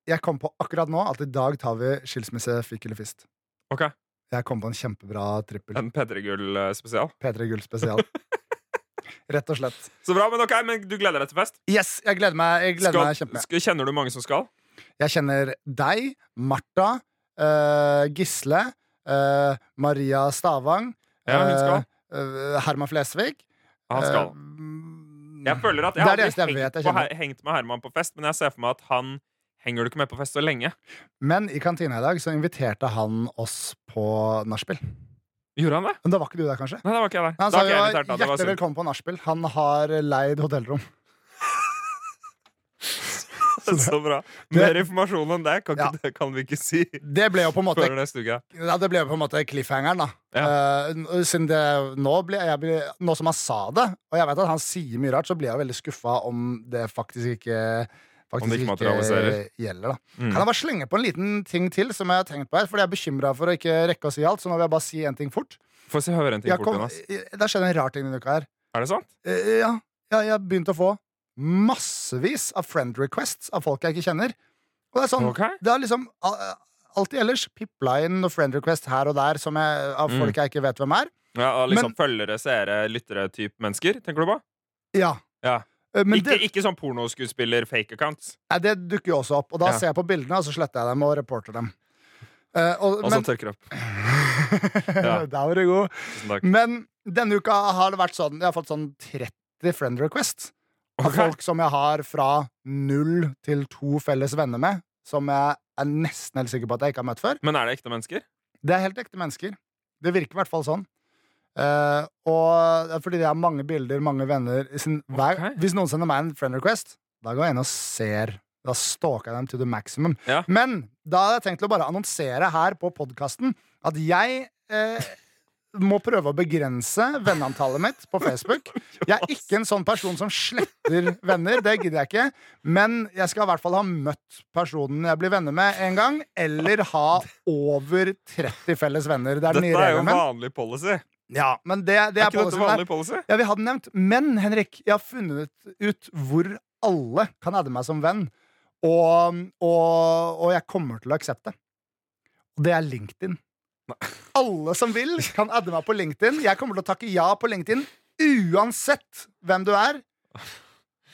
[SPEAKER 2] Jeg kom på akkurat nå at i dag tar vi skilsmisse, fikk eller fist.
[SPEAKER 3] Ok,
[SPEAKER 2] Jeg kom på en kjempebra trippel.
[SPEAKER 3] En P3 eh, Gull-spesial.
[SPEAKER 2] P3 Gull spesial. Rett og slett.
[SPEAKER 3] Så bra, men ok, men du gleder deg til fest?
[SPEAKER 2] Yes, jeg gleder meg. Jeg, gleder meg
[SPEAKER 3] skal,
[SPEAKER 2] kjempemye.
[SPEAKER 3] skal, kjenner du mange som skal?
[SPEAKER 2] jeg kjenner deg, Martha, eh, Gisle, eh, Maria Stavang,
[SPEAKER 3] Ja, hun skal.
[SPEAKER 2] eh, eh, Herman Flesvig.
[SPEAKER 3] Han skal.
[SPEAKER 2] eh,
[SPEAKER 3] Jeg føler at
[SPEAKER 2] Det
[SPEAKER 3] jeg
[SPEAKER 2] er
[SPEAKER 3] har
[SPEAKER 2] det eneste
[SPEAKER 3] aldri
[SPEAKER 2] jeg vet
[SPEAKER 3] hengt,
[SPEAKER 2] jeg
[SPEAKER 3] på
[SPEAKER 2] kjenner.
[SPEAKER 3] Her- hengt med Herman på fest, men jeg ser for meg at han henger du ikke med på fest så lenge.
[SPEAKER 2] Men i kantina i dag så inviterte han oss på nachspiel.
[SPEAKER 3] Gjorde han det?
[SPEAKER 2] Men da var ikke du der, kanskje?
[SPEAKER 3] Nei, da var ikke jeg der.
[SPEAKER 2] Han
[SPEAKER 3] da
[SPEAKER 2] sa
[SPEAKER 3] var
[SPEAKER 2] jo
[SPEAKER 3] ikke jeg invitert, da. Det var
[SPEAKER 2] hjertelig
[SPEAKER 3] synd.
[SPEAKER 2] velkommen på nachspiel. Han har leid hotellrom.
[SPEAKER 3] Så bra.
[SPEAKER 2] Det-
[SPEAKER 3] Mer informasjon enn det kan, ikke,
[SPEAKER 2] Ja.
[SPEAKER 3] det kan vi ikke si
[SPEAKER 2] Det ble jo på en måte,
[SPEAKER 3] før neste uke.
[SPEAKER 2] ja, det ble jo på en måte cliffhangeren, da. Eh, n- siden det nå, blir jeg, blir- nå som han sa det, og jeg vet at han sier mye rart, så blir jeg jo veldig skuffa om det faktisk ikke Faktisk ikke,
[SPEAKER 3] ikke materialiserer.
[SPEAKER 2] gjelder, da.
[SPEAKER 3] Mm.
[SPEAKER 2] Kan jeg bare slenge på en liten ting til? Som jeg har tenkt på her Fordi jeg er bekymra for å ikke rekke å si alt. Så nå vil jeg bare si en ting fort.
[SPEAKER 3] Få se høre en ting
[SPEAKER 2] Jeg
[SPEAKER 3] fort,
[SPEAKER 2] kom,
[SPEAKER 3] Jonas.
[SPEAKER 2] det skjedde en rar ting denne uka her.
[SPEAKER 3] Er det sant?
[SPEAKER 2] Eh, ja, ja, jeg har begynt å få massevis av friend requests av folk jeg ikke kjenner. Og det er sånn,
[SPEAKER 3] Ok.
[SPEAKER 2] det er liksom al- alltid ellers pipla inn noen friend request her og der som jeg, av
[SPEAKER 3] Mm.
[SPEAKER 2] folk jeg ikke vet hvem er.
[SPEAKER 3] Ja, og liksom Følgere, seere, lyttere-type mennesker, tenker du på?
[SPEAKER 2] Ja.
[SPEAKER 3] Ja.
[SPEAKER 2] Eh, Men
[SPEAKER 3] Ikke,
[SPEAKER 2] det,
[SPEAKER 3] ikke sånn pornoskuespiller-fake accounts.
[SPEAKER 2] nei, det dukker jo også opp, og da
[SPEAKER 3] Ja.
[SPEAKER 2] ser jeg på bildene, og så sletter jeg dem og reporter dem. Eh, og,
[SPEAKER 3] Og så
[SPEAKER 2] men,
[SPEAKER 3] tørker opp. Ja.
[SPEAKER 2] Der var du god.
[SPEAKER 3] Tusen takk.
[SPEAKER 2] Men denne uka har det vært sånn Jeg har fått sånn 30 friend requests av
[SPEAKER 3] Ok.
[SPEAKER 2] folk som jeg har fra null til to felles venner med, som jeg er nesten helt sikker på at jeg ikke har møtt før.
[SPEAKER 3] Men er det ekte mennesker?
[SPEAKER 2] Det er helt ekte mennesker. Det virker i hvert fall sånn. Eh, og det er fordi det er mange bilder, mange venner i sin, hver,
[SPEAKER 3] Ok.
[SPEAKER 2] Hvis noen sender meg en friend request, da går jeg inn og ser. Da stalker jeg dem to the maximum.
[SPEAKER 3] Ja.
[SPEAKER 2] Men da hadde jeg tenkt til å bare annonsere her på podkasten at jeg eh, må prøve å begrense venneantallet mitt på Facebook. Jeg er ikke en sånn person som sletter venner, det gidder jeg ikke. Men jeg skal i hvert fall ha møtt personen jeg blir venner med en gang, eller ha over 30 felles venner. Det er den nye
[SPEAKER 3] Dette er jo
[SPEAKER 2] regelen min.
[SPEAKER 3] vanlig policy.
[SPEAKER 2] Ja, men det, det
[SPEAKER 3] Er
[SPEAKER 2] er,
[SPEAKER 3] ikke dette
[SPEAKER 2] policyen der.
[SPEAKER 3] vanlig policy?
[SPEAKER 2] Jeg vil ha den nevnt. Men Henrik, jeg har funnet ut hvor alle kan adde meg som venn. Og, og, og jeg kommer til å aksepte. Og det er LinkedIn. Alle som vil, kan adde meg på LinkedIn. Jeg kommer til å takke ja på LinkedIn uansett hvem du er.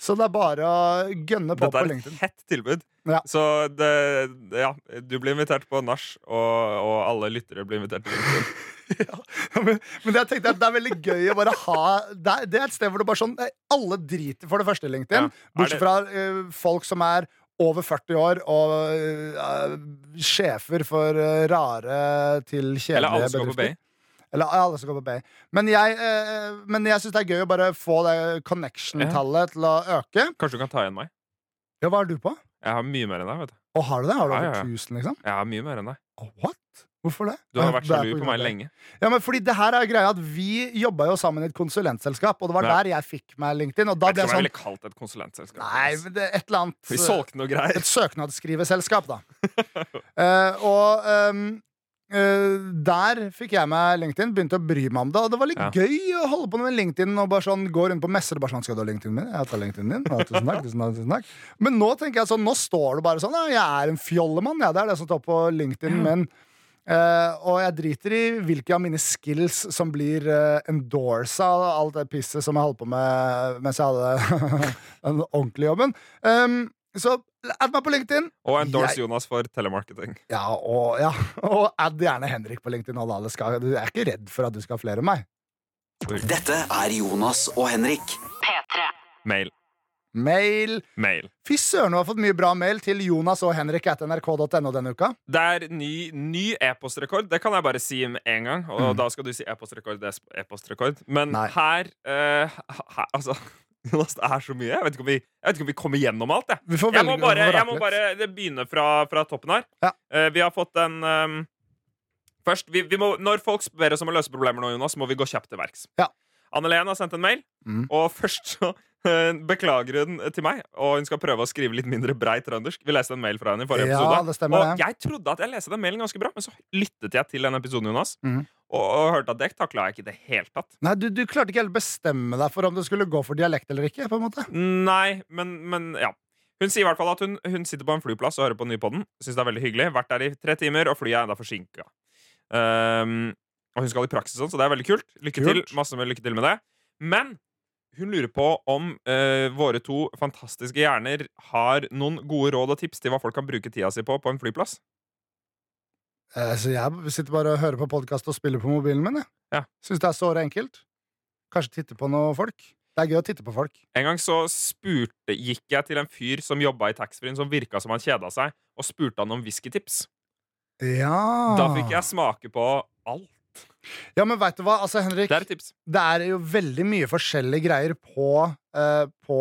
[SPEAKER 2] Så det er bare å gønne på
[SPEAKER 3] Dette
[SPEAKER 2] på
[SPEAKER 3] er et
[SPEAKER 2] LinkedIn.
[SPEAKER 3] hett tilbud.
[SPEAKER 2] Ja.
[SPEAKER 3] Så det, ja, du blir invitert på nach, og, og alle lyttere blir invitert til LinkedIn.
[SPEAKER 2] men, men jeg tenkte at det er veldig gøy å bare ha Det er, det er et sted hvor det bare sånn eh, Alle driter for det første i LinkedIn,
[SPEAKER 3] Ja. Er det-
[SPEAKER 2] bortsett fra eh, folk som er over 40 år og eh, sjefer for eh, rare til
[SPEAKER 3] Eller
[SPEAKER 2] kjedelige
[SPEAKER 3] alle som går på
[SPEAKER 2] bedrifter.
[SPEAKER 3] Bay.
[SPEAKER 2] Eller alle som går på Bay. Men jeg, uh, jeg syns det er gøy å bare få det connection-tallet til å øke.
[SPEAKER 3] Kanskje du kan ta igjen meg?
[SPEAKER 2] Ja, hva er du på?
[SPEAKER 3] Jeg har mye mer enn deg. vet du
[SPEAKER 2] Og har du det? Har du
[SPEAKER 3] Ja,
[SPEAKER 2] over
[SPEAKER 3] ja, ja.
[SPEAKER 2] 1000, liksom?
[SPEAKER 3] Jeg har mye mer enn deg
[SPEAKER 2] Oh, what? Hvorfor det?
[SPEAKER 3] Du har
[SPEAKER 2] Ja,
[SPEAKER 3] vært
[SPEAKER 2] det er
[SPEAKER 3] sjalu
[SPEAKER 2] grunn
[SPEAKER 3] på
[SPEAKER 2] av
[SPEAKER 3] meg
[SPEAKER 2] det.
[SPEAKER 3] lenge.
[SPEAKER 2] Ja, men fordi det her er greia at Vi jobba jo sammen i et konsulentselskap, og det var
[SPEAKER 3] Ja.
[SPEAKER 2] der jeg fikk meg LinkedIn. Og da
[SPEAKER 3] Jeg
[SPEAKER 2] ble jeg
[SPEAKER 3] tror jeg
[SPEAKER 2] sånn
[SPEAKER 3] ville kalt det et konsulentselskap.
[SPEAKER 2] Nei,
[SPEAKER 3] ass.
[SPEAKER 2] men det er et eller annet
[SPEAKER 3] Vi solgte noe greier.
[SPEAKER 2] Et søknadsskriveselskap, da. Eh, og ehm, eh, der fikk jeg meg LinkedIn, begynte å bry meg om det. Og det var litt
[SPEAKER 3] Ja.
[SPEAKER 2] gøy å holde på med LinkedIn og bare sånn gå rundt på messer og bare sånn Skal du ha LinkedIn min? Jeg tar LinkedIn din. Ja, tusen takk, tusen takk, tusen takk. Men nå tenker jeg sånn, nå står det bare sånn. Ja, jeg er en fjollemann, ja, det er det som står på LinkedIn min. Eh, og jeg driter i hvilke av mine skills som blir uh, endorsa av alt det pisset som jeg holdt på med mens jeg hadde den ordentlige jobben. Um, så add meg på LinkedIn.
[SPEAKER 3] Og endorse
[SPEAKER 2] Jeg-
[SPEAKER 3] Jonas for telemarketing.
[SPEAKER 2] Ja, og, ja. og add gjerne Henrik på LinkedIn. Og alle skal, jeg er ikke redd for at du skal ha flere enn meg.
[SPEAKER 1] Dette er Jonas og Henrik.
[SPEAKER 3] Mail.
[SPEAKER 2] Mail.
[SPEAKER 3] Mail.
[SPEAKER 2] Fy søren, du har fått mye bra mail til Jonas og Henrik at nrk.no denne uka.
[SPEAKER 3] Det er ny, ny e-postrekord. Det kan jeg bare si med en gang. Og da skal du si e-postrekord. Det er sp- e-postrekord. Men
[SPEAKER 2] Mm. Nei.
[SPEAKER 3] her, eh, her Altså, Jonas, det er så mye. Jeg vet ikke om vi, jeg vet ikke om vi kommer gjennom alt. Jeg,
[SPEAKER 2] Vi får
[SPEAKER 3] jeg, må,
[SPEAKER 2] velge å
[SPEAKER 3] bare, jeg
[SPEAKER 2] vrake
[SPEAKER 3] må
[SPEAKER 2] litt.
[SPEAKER 3] bare begynne fra, fra toppen her.
[SPEAKER 2] Ja.
[SPEAKER 3] Eh, vi har fått en ehm, Først, vi, vi må, Når folk ber oss om å løse problemer nå, Jonas, må vi gå kjapt til verks.
[SPEAKER 2] Ja.
[SPEAKER 3] Anne Len har sendt en mail,
[SPEAKER 2] Mm.
[SPEAKER 3] og først så eh, beklager hun til meg. Og hun skal prøve å skrive litt mindre brei trøndersk. Vi leste en mail fra henne i forrige
[SPEAKER 2] Ja,
[SPEAKER 3] episode.
[SPEAKER 2] det stemmer
[SPEAKER 3] Og
[SPEAKER 2] det.
[SPEAKER 3] jeg trodde at jeg leste den mailen ganske bra, men så lyttet jeg til den episoden, Jonas.
[SPEAKER 2] Mhm.
[SPEAKER 3] Og, og hørte at det takla jeg ikke i det hele tatt.
[SPEAKER 2] Nei, du, du klarte ikke helt bestemme deg for om du skulle gå for dialekt eller ikke. på en måte
[SPEAKER 3] Nei, men, men ja. Hun sier i hvert fall at hun, hun sitter på en flyplass og hører på Nypodden. Syns det er veldig hyggelig. Vært der i tre timer, og flyet er enda forsinka. Ehm, og hun skal i praksis sånn, så det er veldig kult. Lykke
[SPEAKER 2] Kult.
[SPEAKER 3] til. Masse med lykke til med det. Men hun lurer på om eh, våre to fantastiske hjerner har noen gode råd og tips til hva folk kan bruke tida si på på en flyplass.
[SPEAKER 2] Eh, Så jeg sitter bare og hører på podkast og spiller på mobilen min. Jeg.
[SPEAKER 3] Ja.
[SPEAKER 2] Syns det er såre enkelt. Kanskje titte på noen folk. Det er gøy å titte på folk.
[SPEAKER 3] En gang så spurte, gikk jeg til en fyr som jobba i taxfree-en, som virka som han kjeda seg, og spurte han om whiskytips.
[SPEAKER 2] Ja,
[SPEAKER 3] Da fikk jeg smake på alt.
[SPEAKER 2] ja men veit du hva, altså, Henrik.
[SPEAKER 3] Det er et tips.
[SPEAKER 2] det er jo veldig mye forskjellige greier på, eh, på,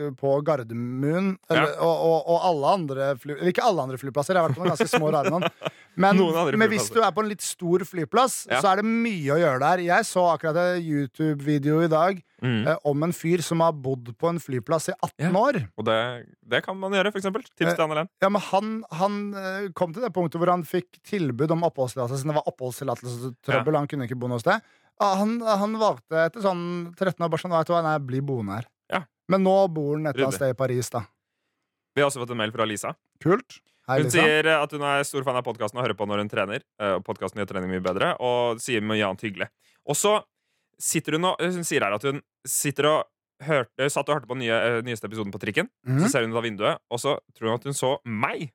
[SPEAKER 2] eh, på Gardermoen eller, og, og, og alle andre fly, eller Ikke alle andre flyplasser, jeg har vært på noen ganske små og rare noen. Men,
[SPEAKER 3] Noen andre
[SPEAKER 2] men hvis
[SPEAKER 3] flyplasser.
[SPEAKER 2] du er på en litt stor flyplass,
[SPEAKER 3] Ja.
[SPEAKER 2] så er det mye å gjøre der. Jeg så akkurat en YouTube-video i dag
[SPEAKER 3] Mm.
[SPEAKER 2] eh, om en fyr som har bodd på en flyplass i 18
[SPEAKER 3] Ja.
[SPEAKER 2] år.
[SPEAKER 3] Og det, det kan man gjøre, for eksempel.
[SPEAKER 2] Eh.
[SPEAKER 3] Tips til Annelen.
[SPEAKER 2] Ja, men han, han eh, kom til det punktet hvor han fikk tilbud om oppholdstillatelse. siden Det var oppholdstillatelsestrøbbel, han kunne ikke bo noe sted. Ah, Han, han valgte etter sånn 13 år bare sånn, vet du hva, nei, bli boende her.
[SPEAKER 3] Ja.
[SPEAKER 2] Men nå bor han et eller
[SPEAKER 3] Ryddig.
[SPEAKER 2] annet sted i Paris, da.
[SPEAKER 3] Vi har også fått en mail fra Lisa.
[SPEAKER 2] Kult. Hei,
[SPEAKER 3] Hun
[SPEAKER 2] Lisa.
[SPEAKER 3] sier eh, at hun er stor fan av podkasten og hører på når hun trener. eh, Og podcasten gjør trening mye bedre, og sier mye annet hyggelig. Og så sitter hun og eh, Hun sier her at hun sitter og hørte, satt og hørte på den nye, eh, nyeste episoden på trikken.
[SPEAKER 2] Mhm.
[SPEAKER 3] Så ser hun ut av vinduet, og så tror hun at hun så meg.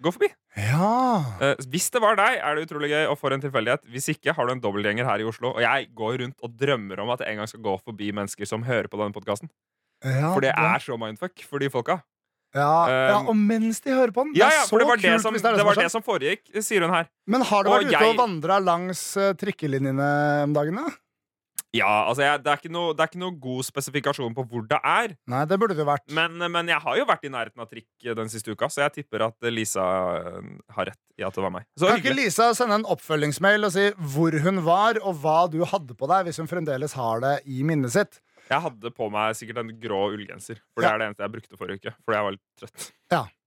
[SPEAKER 3] Gå forbi.
[SPEAKER 2] Ja.
[SPEAKER 3] Eh, hvis det var deg, er det utrolig gøy, og for en tilfeldighet. Hvis ikke, har du en dobbeltgjenger her i Oslo. Og jeg går rundt og drømmer om at jeg en gang skal gå forbi mennesker som hører på denne podkasten.
[SPEAKER 2] ja
[SPEAKER 3] For det er så mindfuck for de folka.
[SPEAKER 2] ja, ja,
[SPEAKER 3] Um,
[SPEAKER 2] Og mens de hører på den!
[SPEAKER 3] Ja,
[SPEAKER 2] det
[SPEAKER 3] ja,
[SPEAKER 2] er så
[SPEAKER 3] for det var
[SPEAKER 2] kult
[SPEAKER 3] det som,
[SPEAKER 2] hvis
[SPEAKER 3] det
[SPEAKER 2] det er det,
[SPEAKER 3] var
[SPEAKER 2] som har
[SPEAKER 3] det
[SPEAKER 2] skjedd.
[SPEAKER 3] som foregikk, sier hun her.
[SPEAKER 2] Men har du
[SPEAKER 3] Og
[SPEAKER 2] vært ute
[SPEAKER 3] jeg-
[SPEAKER 2] og vandra langs eh, trikkelinjene om dagen, da?
[SPEAKER 3] Ja, altså jeg, det, er ikke noe, det er ikke noe god spesifikasjon på hvor det er.
[SPEAKER 2] Nei, det burde det jo vært.
[SPEAKER 3] Men, men jeg har jo vært i nærheten av trikk den siste uka, så jeg tipper at Lisa øh, har rett i at det var meg. Så
[SPEAKER 2] Kan ikke
[SPEAKER 3] hyggelig.
[SPEAKER 2] Lisa sende en oppfølgingsmail og si hvor hun var, og hva du hadde på deg, hvis hun fremdeles har det i minnet sitt?
[SPEAKER 3] Jeg hadde på meg sikkert en grå ullgenser, for
[SPEAKER 2] Ja.
[SPEAKER 3] det er det eneste jeg brukte forrige uke. Fordi jeg var litt trøtt.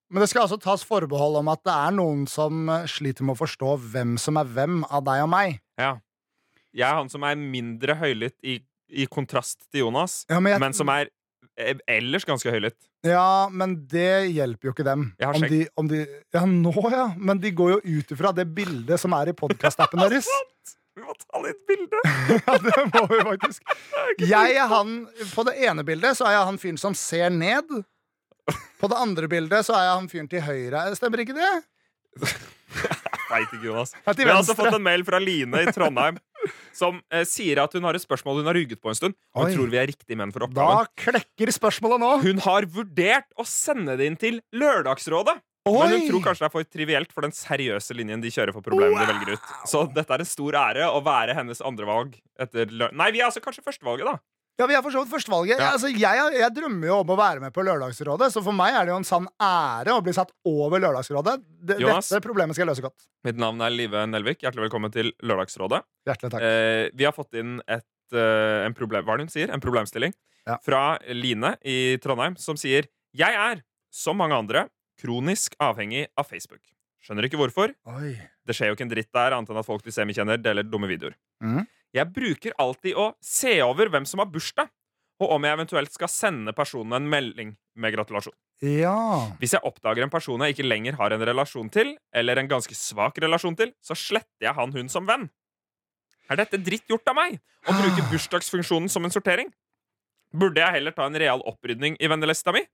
[SPEAKER 2] Men det skal altså tas forbehold om at det er noen som eh, sliter med å forstå hvem som er hvem av deg og meg.
[SPEAKER 3] Jeg er han som er mindre høylytt i, i kontrast til Jonas,
[SPEAKER 2] Ja, men, jeg,
[SPEAKER 3] men som er eh, ellers ganske høylytt.
[SPEAKER 2] ja, men det hjelper jo ikke dem.
[SPEAKER 3] Jeg har
[SPEAKER 2] om
[SPEAKER 3] skjegg.
[SPEAKER 2] de, om de, ja, nå ja. Men de går jo ut ifra det bildet som er i podkastappen deres.
[SPEAKER 3] Vi må ta litt bilde!
[SPEAKER 2] Ja, det må vi faktisk. Jeg er han, på det ene bildet så er jeg han fyren som ser ned. På det andre bildet så er jeg han fyren til høyre. Stemmer ikke det?
[SPEAKER 3] Veit ikke, Jonas.
[SPEAKER 2] Ja, til
[SPEAKER 3] Vi har altså
[SPEAKER 2] venstre.
[SPEAKER 3] fått en mail fra Line i Trondheim som eh, sier at hun har et spørsmål hun har ruget på en stund. Og hun
[SPEAKER 2] Oi.
[SPEAKER 3] tror vi er riktige menn for
[SPEAKER 2] Da
[SPEAKER 3] oppgaven.
[SPEAKER 2] klekker spørsmålet nå.
[SPEAKER 3] Hun har vurdert å sende det inn til Lørdagsrådet. Men hun tror kanskje det er for trivielt for den seriøse linjen de kjører for problemene de velger ut. Så dette er en stor ære å være hennes andrevalg etter lø... Nei, vi er altså kanskje førstevalget, da.
[SPEAKER 2] Ja, Vi er for så vidt førstevalget.
[SPEAKER 3] Ja.
[SPEAKER 2] Altså, jeg, jeg drømmer jo om å være med på Lørdagsrådet, så for meg er det jo en sann ære å bli satt over Lørdagsrådet. Det-
[SPEAKER 3] Jonas?
[SPEAKER 2] Dette problemet skal jeg løse godt.
[SPEAKER 3] Mitt navn er Live Nelvik. Hjertelig velkommen til Lørdagsrådet.
[SPEAKER 2] Hjertelig takk.
[SPEAKER 3] Eh, vi har fått inn et, eh, en, problem, hva er det hun sier? en problemstilling
[SPEAKER 2] Ja.
[SPEAKER 3] fra Line i Trondheim, som sier Jeg er, som mange andre, kronisk avhengig av Facebook. Skjønner ikke hvorfor.
[SPEAKER 2] Oi.
[SPEAKER 3] Det skjer jo ikke en dritt der, annet enn at folk de semikjenner, deler dumme videoer.
[SPEAKER 2] Mhm.
[SPEAKER 3] Jeg bruker alltid å se over hvem som har bursdag, og om jeg eventuelt skal sende personen en melding med gratulasjon.
[SPEAKER 2] Ja.
[SPEAKER 3] Hvis jeg oppdager en person jeg ikke lenger har en relasjon til, eller en ganske svak relasjon til, så sletter jeg han hun som venn. Er dette dritt gjort av meg? Å bruke bursdagsfunksjonen som en sortering? Burde jeg heller ta en real opprydning i vennelista mi,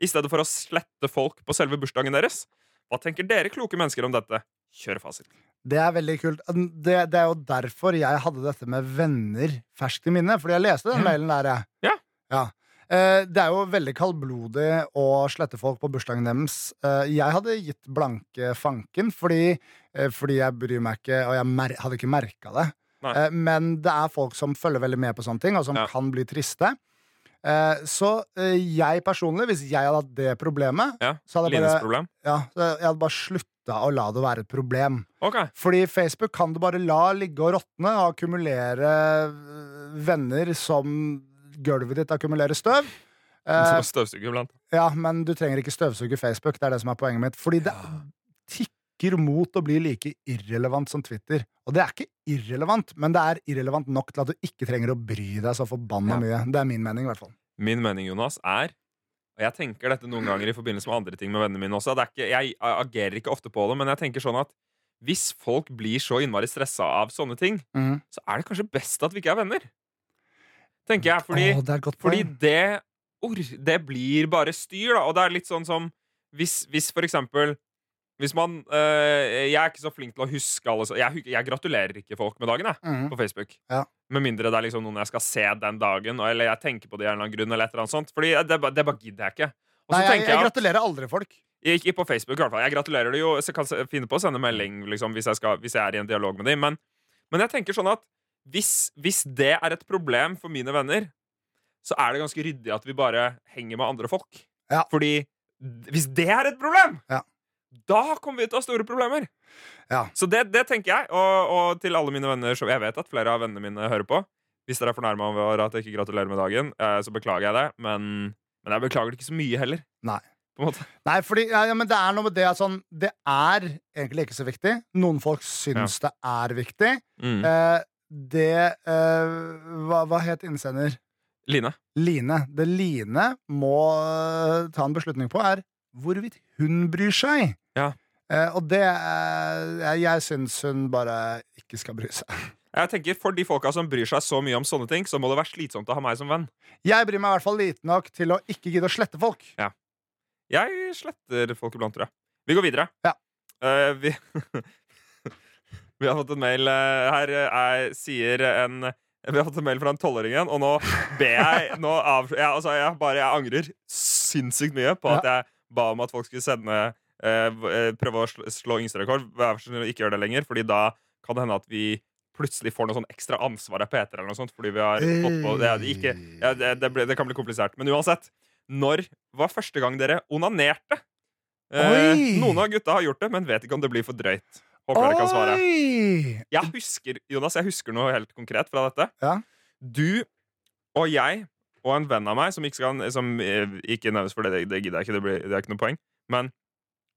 [SPEAKER 3] i stedet for å slette folk på selve bursdagen deres? Hva tenker dere kloke mennesker om dette? Kjør fasit.
[SPEAKER 2] Det er veldig kult. Det, det er jo derfor jeg hadde dette med venner ferskt i minne. Fordi jeg leste den
[SPEAKER 3] Ja.
[SPEAKER 2] mailen der, jeg.
[SPEAKER 3] Mm. Ja.
[SPEAKER 2] Eh, Det er jo veldig kaldblodig å slette folk på bursdagen deres. Eh, Jeg hadde gitt blanke fanken, fordi, eh, fordi jeg bryr meg ikke, og jeg mer hadde ikke merka det.
[SPEAKER 3] Nei.
[SPEAKER 2] Eh, Men det er folk som følger veldig med på sånne ting, og som
[SPEAKER 3] Ja.
[SPEAKER 2] kan bli triste. Eh, Så eh, jeg personlig, hvis jeg hadde hatt det problemet,
[SPEAKER 3] Ja,
[SPEAKER 2] så hadde jeg
[SPEAKER 3] Lines
[SPEAKER 2] bare,
[SPEAKER 3] problem.
[SPEAKER 2] ja, så jeg hadde bare slutta å la det være et problem.
[SPEAKER 3] Ok.
[SPEAKER 2] Fordi Facebook kan du bare la ligge og råtne og akkumulere øh, venner som gulvet ditt akkumulerer støv.
[SPEAKER 3] Så
[SPEAKER 2] Eh,
[SPEAKER 3] må støvsuge iblant.
[SPEAKER 2] ja, men du trenger ikke støvsuge Facebook. Det er det som er poenget mitt. Fordi det tikker mot å bli like irrelevant som Twitter. Og det er ikke irrelevant, men det er irrelevant nok til at du ikke trenger å bry deg så forbanna mye. Det er min mening, i hvert fall.
[SPEAKER 3] Min mening, Jonas, er Og jeg tenker dette noen ganger i forbindelse med andre ting med vennene mine også. Det er ikke, jeg agerer ikke ofte på det, men jeg tenker sånn at hvis folk blir så innmari stressa av sånne ting,
[SPEAKER 2] Mm.
[SPEAKER 3] så er det kanskje best at vi ikke er venner. Tenker jeg, fordi
[SPEAKER 2] Åh, det er et godt
[SPEAKER 3] fordi
[SPEAKER 2] poeng.
[SPEAKER 3] det or, det blir bare styr, da. Og det er litt sånn som hvis, hvis for eksempel Hvis man øh, Jeg er ikke så flink til å huske alle så, jeg, hu- jeg gratulerer ikke folk med dagen, jeg,
[SPEAKER 2] Mhm.
[SPEAKER 3] på Facebook.
[SPEAKER 2] Ja.
[SPEAKER 3] Med mindre det er liksom noen jeg skal se den dagen, og- eller jeg tenker på det av en eller annen grunn. Eller et eller annet sånt. Fordi eh, det, ba- det bare gidder jeg ikke. Og så
[SPEAKER 2] Nei, jeg,
[SPEAKER 3] tenker
[SPEAKER 2] jeg
[SPEAKER 3] jeg at
[SPEAKER 2] gratulerer aldri folk.
[SPEAKER 3] ikke på Facebook, i hvert fall. Jeg gratulerer det jo. Så kan jeg finne på å sende melding liksom, hvis, jeg skal, hvis jeg er i en dialog med dem. Men, men jeg tenker sånn at hvis, hvis det er et problem for mine venner, så er det ganske ryddig at vi bare henger med andre folk.
[SPEAKER 2] Ja.
[SPEAKER 3] Fordi d- hvis det er et problem,
[SPEAKER 2] Ja.
[SPEAKER 3] da kommer vi til å ha store problemer.
[SPEAKER 2] Ja.
[SPEAKER 3] Så det, det tenker jeg. Og, og til alle mine venner, som jeg vet at flere av vennene mine hører på. Hvis dere er fornærma over at jeg ikke gratulerer med dagen, eh, så beklager jeg det. Men, men jeg beklager det ikke så mye heller.
[SPEAKER 2] Nei.
[SPEAKER 3] På en måte.
[SPEAKER 2] Nei, fordi, ja, ja, men det er noe med det at sånn Det er egentlig ikke så viktig. Noen folk syns det er viktig.
[SPEAKER 3] Mm.
[SPEAKER 2] Eh, det eh, hva, hva het innsender?
[SPEAKER 3] Line.
[SPEAKER 2] Line. Det Line må eh, ta en beslutning på, er hvorvidt hun bryr seg.
[SPEAKER 3] Ja.
[SPEAKER 2] Eh, og det eh, Jeg, jeg syns hun bare ikke skal bry seg.
[SPEAKER 3] Jeg tenker For de folka som bryr seg så mye om sånne ting, så må det være slitsomt å ha meg som venn.
[SPEAKER 2] Jeg bryr meg i hvert fall lite nok til å ikke gidde å slette folk.
[SPEAKER 3] Jeg sletter folk iblant, tror jeg. Vi går videre.
[SPEAKER 2] Ja.
[SPEAKER 3] Eh, vi, vi har fått en mail eh, her er, sier en Vi har fått en mail fra en tolvåring igjen, og nå ber jeg nå av, jeg, altså, jeg, bare, jeg angrer sinnssykt mye på at jeg ba om at folk skulle sende eh, v- eh, Prøve å slå, slå yngsterekord. Vær så snill å ikke gjøre det lenger, Fordi da kan det hende at vi plutselig får noe sånn ekstra ansvar av Peter eller noe sånt. Fordi vi har fått på Det, er ikke, ja, det, det, ble, det kan bli komplisert. Men uansett. Når var første gang dere onanerte? Eh,
[SPEAKER 2] Oi!
[SPEAKER 3] noen av gutta har gjort det, men vet ikke om det blir for drøyt. Håper dere kan svare.
[SPEAKER 2] Oi!
[SPEAKER 3] Jeg husker, Jonas, jeg husker noe helt konkret fra dette.
[SPEAKER 2] Ja.
[SPEAKER 3] Du og jeg og en venn av meg, som ikke, skal, som eh, ikke nevnes for det, det, det gidder jeg ikke, det, blir, det er ikke noe poeng, men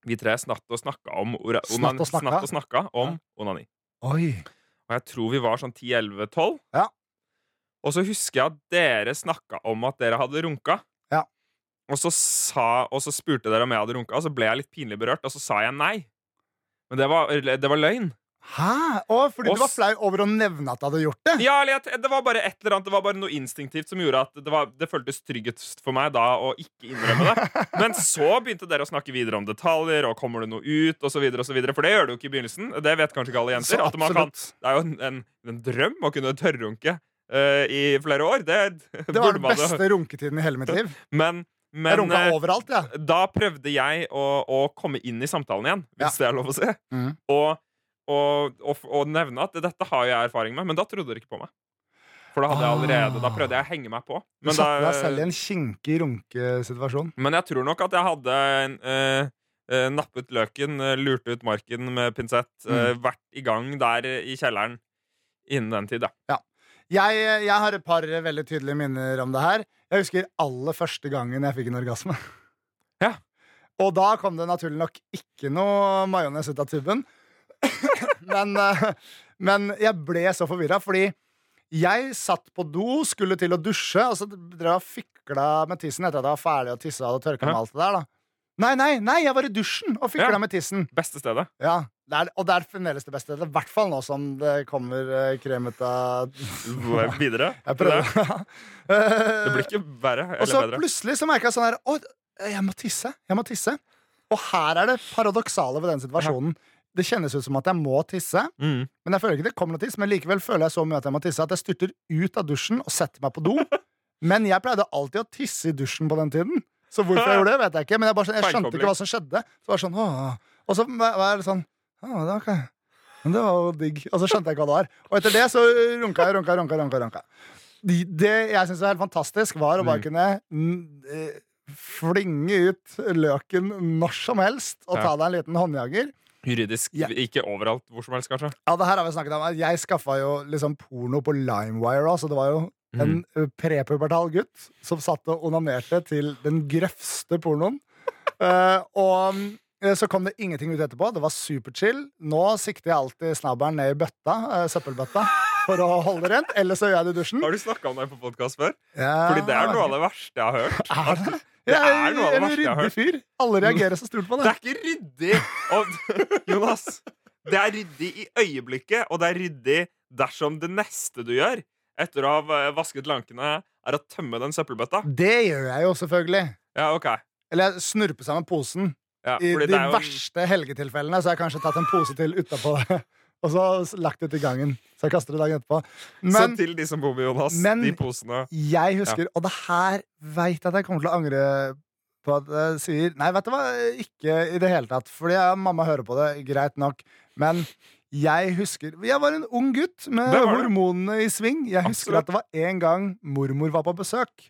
[SPEAKER 3] vi tre snatt og snakka om ora-
[SPEAKER 2] Snatt og snakka?
[SPEAKER 3] snatt og snakka om onani.
[SPEAKER 2] Oi.
[SPEAKER 3] Og jeg tror vi var sånn 10-11-12.
[SPEAKER 2] Ja.
[SPEAKER 3] Og så husker jeg at dere snakka om at dere hadde runka.
[SPEAKER 2] Ja.
[SPEAKER 3] Og, så sa, og så spurte dere om jeg hadde runka, og så ble jeg litt pinlig berørt, og så sa jeg nei. Men det var, det var løgn.
[SPEAKER 2] Hæ? Å, fordi
[SPEAKER 3] Og
[SPEAKER 2] du var
[SPEAKER 3] s-
[SPEAKER 2] flau over å nevne at du hadde gjort det?
[SPEAKER 3] Ja, eller jeg, Det var bare et eller annet Det var bare noe instinktivt som gjorde at det, var, det føltes tryggest for meg da å ikke innrømme det. Men så begynte dere å snakke videre om detaljer, og kommer det noe ut, og så videre, og så videre For det gjør det jo ikke i begynnelsen. Det vet kanskje ikke alle jenter.
[SPEAKER 2] Så
[SPEAKER 3] at man kan, det er jo en, en, en drøm å kunne tørrrunke eh, i flere år. Det,
[SPEAKER 2] Det var
[SPEAKER 3] burde
[SPEAKER 2] den
[SPEAKER 3] man jo-
[SPEAKER 2] beste runketiden i hele mitt liv.
[SPEAKER 3] Men,
[SPEAKER 2] Jeg
[SPEAKER 3] men
[SPEAKER 2] runka
[SPEAKER 3] eh,
[SPEAKER 2] overalt, jeg.
[SPEAKER 3] da prøvde jeg å, å komme inn i samtalen igjen, hvis det er lov å si.
[SPEAKER 2] Mhm.
[SPEAKER 3] Og, og, og, og nevne at dette har jeg erfaring med, men da trodde dere ikke på meg. For da hadde jeg allerede, da prøvde jeg å henge meg på.
[SPEAKER 2] Du
[SPEAKER 3] Men, eh,
[SPEAKER 2] satte deg selv i
[SPEAKER 3] da,
[SPEAKER 2] en kinkig runkesituasjon.
[SPEAKER 3] men jeg tror nok at jeg hadde en, eh, eh, nappet løken, eh, lurt ut marken med pinsett,
[SPEAKER 2] Mm.
[SPEAKER 3] eh, vært i gang der eh, i kjelleren innen den tid, ja.
[SPEAKER 2] Jeg, eh, jeg har et par veldig tydelige minner om det her. Jeg husker aller første gangen jeg fikk en orgasme.
[SPEAKER 3] Ja.
[SPEAKER 2] Og da kom det naturlig nok ikke noe majones ut av tuben. men, eh, men jeg ble så forvirra, fordi jeg satt på do, skulle til å dusje, og så drev jeg og fikla med tissen etter at jeg var ferdig å tisse og hadde tørka
[SPEAKER 3] Ja.
[SPEAKER 2] med alt det der. da Nei, nei, nei, jeg var i dusjen og fikla
[SPEAKER 3] Ja.
[SPEAKER 2] med tissen.
[SPEAKER 3] Beste stedet.
[SPEAKER 2] Ja, det er, Og det er fremdeles det beste. I hvert fall nå som det kommer eh, krem ut av
[SPEAKER 3] Videre.
[SPEAKER 2] jeg prøvde.
[SPEAKER 3] Det blir ikke verre
[SPEAKER 2] Og så
[SPEAKER 3] eller bedre.
[SPEAKER 2] plutselig så merka jeg sånn her Å, jeg må tisse. Jeg må tisse. Og her er det paradoksale ved den situasjonen. Det kjennes ut som at jeg må tisse,
[SPEAKER 3] Mm.
[SPEAKER 2] men jeg føler ikke det kommer noe tiss. Men likevel føler jeg så mye at jeg må tisse at jeg styrter ut av dusjen og setter meg på do. Men jeg pleide alltid å tisse i dusjen på den tiden. Så hvorfor jeg gjorde det, vet jeg ikke. Men jeg, bare, sånn- jeg skjønte ikke hva som skjedde. Så var det sånn, «Åh». Og så var jeg litt sånn «Åh, det var ikke- Men det var jo digg. Og så skjønte jeg ikke hva det var. Og etter det så runka jeg, runka, runka, runka. runka. De, det jeg syns var helt fantastisk, var å bare
[SPEAKER 3] Mm.
[SPEAKER 2] kunne mm, eh, flinge ut løken når som helst og ta
[SPEAKER 3] Ja.
[SPEAKER 2] deg en liten håndjager.
[SPEAKER 3] Juridisk.
[SPEAKER 2] Ja.
[SPEAKER 3] Ikke overalt, hvor som helst, kanskje.
[SPEAKER 2] Ja, det her har vi snakket om. Jeg skaffa jo liksom porno på LimeWire òg, så det var jo
[SPEAKER 3] Mhm.
[SPEAKER 2] en eh, prepubertal gutt som satt og onanerte til den grøvste pornoen. Eh, og eh, så kom det ingenting ut etterpå. Det var superchill. Nå sikter jeg alltid snabberen ned i bøtta, eh, søppelbøtta, for å holde det rent. Eller så gjør jeg det i dusjen.
[SPEAKER 3] Har du snakka om det på podkast før?
[SPEAKER 2] Ja,
[SPEAKER 3] Fordi det er noe av det verste jeg har hørt.
[SPEAKER 2] Er det?
[SPEAKER 3] Det
[SPEAKER 2] Jeg
[SPEAKER 3] er noe av det
[SPEAKER 2] en
[SPEAKER 3] verste jeg har
[SPEAKER 2] ryddig fyr. Alle reagerer så stort på
[SPEAKER 3] Det
[SPEAKER 2] det.
[SPEAKER 3] er ikke ryddig! Og, Jonas, det er ryddig i øyeblikket, og det er ryddig dersom det neste du gjør etter å ha eh, vasket lankene, er å tømme den søppelbøtta.
[SPEAKER 2] Det gjør jeg jo selvfølgelig.
[SPEAKER 3] Ja, ok.
[SPEAKER 2] Eller jeg snurper sammen posen.
[SPEAKER 3] Ja,
[SPEAKER 2] I
[SPEAKER 3] fordi
[SPEAKER 2] de
[SPEAKER 3] det er jo en,
[SPEAKER 2] verste helgetilfellene så har jeg kanskje tatt en pose til utapå og så s- lagt det ut i gangen. Så jeg kaster det dagen etterpå.
[SPEAKER 3] så
[SPEAKER 2] Men
[SPEAKER 3] til de som bor med Jonas,
[SPEAKER 2] Men-
[SPEAKER 3] de posene
[SPEAKER 2] jeg husker, og det her veit jeg at jeg kommer til å angre på at jeg sier Nei, vet du hva, ikke i det hele tatt. Fordi jeg, mamma hører på det, greit nok. Men jeg husker Jeg var en ung gutt med
[SPEAKER 3] Det var du.
[SPEAKER 2] hormonene i sving. Jeg husker
[SPEAKER 3] Absolutt.
[SPEAKER 2] at det var en gang mormor var på besøk.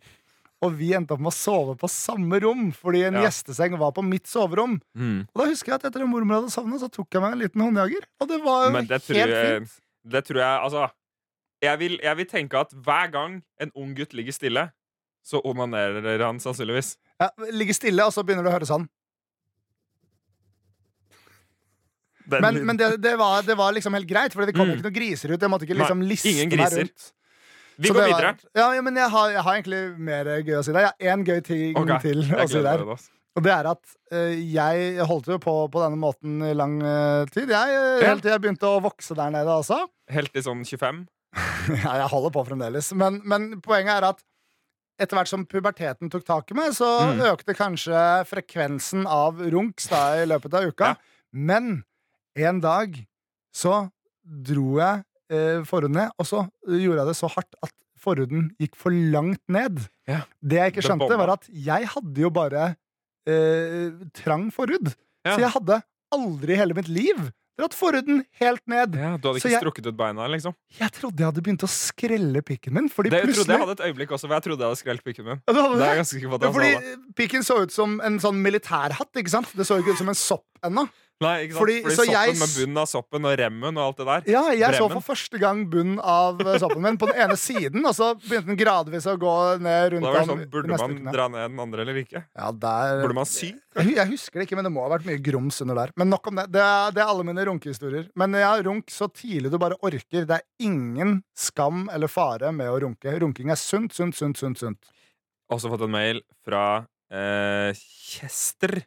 [SPEAKER 2] Og vi endte opp med å sove på samme rom fordi en
[SPEAKER 3] Ja.
[SPEAKER 2] gjesteseng var på mitt soverom.
[SPEAKER 3] Mm.
[SPEAKER 2] Og da husker jeg at etter at mormor hadde sovnet, så tok jeg meg en liten håndjager. Og det var jo
[SPEAKER 3] Men det
[SPEAKER 2] helt
[SPEAKER 3] tror jeg-
[SPEAKER 2] fint.
[SPEAKER 3] Det tror jeg Altså, jeg vil, jeg vil tenke at hver gang en ung gutt ligger stille, så onanerer han sannsynligvis.
[SPEAKER 2] Ja, ligge stille, og så begynner du å høre sånn.
[SPEAKER 3] Den
[SPEAKER 2] Men,
[SPEAKER 3] lyden.
[SPEAKER 2] men det, det, var, det var liksom helt greit, for det kom
[SPEAKER 3] Mm.
[SPEAKER 2] ikke noen griser ut. Jeg måtte ikke
[SPEAKER 3] Nei,
[SPEAKER 2] liksom liste
[SPEAKER 3] ingen
[SPEAKER 2] meg
[SPEAKER 3] griser.
[SPEAKER 2] rundt.
[SPEAKER 3] Vi
[SPEAKER 2] Så
[SPEAKER 3] går
[SPEAKER 2] det var-
[SPEAKER 3] videre.
[SPEAKER 2] Ja, ja, men jeg har, jeg har egentlig mer gøy å si der. Jeg har én gøy ting
[SPEAKER 3] Ok,
[SPEAKER 2] til å
[SPEAKER 3] Jeg
[SPEAKER 2] si der.
[SPEAKER 3] gleder meg, altså. Jonas.
[SPEAKER 2] Og det er at eh, jeg holdt jo på på denne måten i lang eh, tid. Jeg, eh,
[SPEAKER 3] Ja.
[SPEAKER 2] Helt til jeg begynte å vokse der nede også.
[SPEAKER 3] Helt til sånn 25.
[SPEAKER 2] Ja, jeg holder på fremdeles. Men, men poenget er at etter hvert som puberteten tok tak i meg, så
[SPEAKER 3] Mm.
[SPEAKER 2] økte kanskje frekvensen av runks da i løpet av uka.
[SPEAKER 3] Ja.
[SPEAKER 2] Men en dag så dro jeg eh, forhuden ned, og så gjorde jeg det så hardt at forhuden gikk for langt ned.
[SPEAKER 3] Ja.
[SPEAKER 2] Det jeg ikke
[SPEAKER 3] Det
[SPEAKER 2] skjønte,
[SPEAKER 3] bomba.
[SPEAKER 2] var at jeg hadde jo bare eh, trang forhud.
[SPEAKER 3] Ja.
[SPEAKER 2] Så jeg hadde aldri i hele mitt liv dratt forhuden helt ned.
[SPEAKER 3] Ja, du hadde
[SPEAKER 2] Så
[SPEAKER 3] ikke
[SPEAKER 2] jeg-
[SPEAKER 3] strukket ut beina, liksom?
[SPEAKER 2] Jeg trodde jeg hadde begynt å skrelle pikken min, fordi
[SPEAKER 3] Det, jeg trodde
[SPEAKER 2] plutselig
[SPEAKER 3] jeg hadde et øyeblikk også hvor jeg trodde jeg hadde skrelt pikken min.
[SPEAKER 2] Ja, du hadde
[SPEAKER 3] Det
[SPEAKER 2] det?
[SPEAKER 3] er jeg ganske sikker på at
[SPEAKER 2] Ja,
[SPEAKER 3] jeg sa det.
[SPEAKER 2] fordi pikken så ut som en sånn militærhatt, ikke sant? Det så ikke ut som en sopp ennå.
[SPEAKER 3] Nei, ikke sant? Fordi,
[SPEAKER 2] fordi- så
[SPEAKER 3] soppen
[SPEAKER 2] jeg s-
[SPEAKER 3] med bunnen av soppen og remmen og alt det der.
[SPEAKER 2] Ja, jeg så
[SPEAKER 3] Bremmen.
[SPEAKER 2] for første gang bunnen av eh, soppen min på den ene siden, og så begynte den gradvis å gå ned
[SPEAKER 3] Da
[SPEAKER 2] rundt
[SPEAKER 3] var det
[SPEAKER 2] om
[SPEAKER 3] sånn,
[SPEAKER 2] de
[SPEAKER 3] Burde
[SPEAKER 2] neste
[SPEAKER 3] man
[SPEAKER 2] ukene.
[SPEAKER 3] dra ned den andre eller ikke?
[SPEAKER 2] Ja, der...
[SPEAKER 3] Burde man sy?
[SPEAKER 2] Jeg hu- Jeg husker det ikke, men det må ha vært mye grums under der. Men nok om det. Det er, det er alle mine runkehistorier. Men ja, runk så tidlig du bare orker. Det er ingen skam eller fare med å runke. Runking er sunt, sunt, sunt, sunt. sunt.
[SPEAKER 3] Også fått en mail fra eh, Kjester,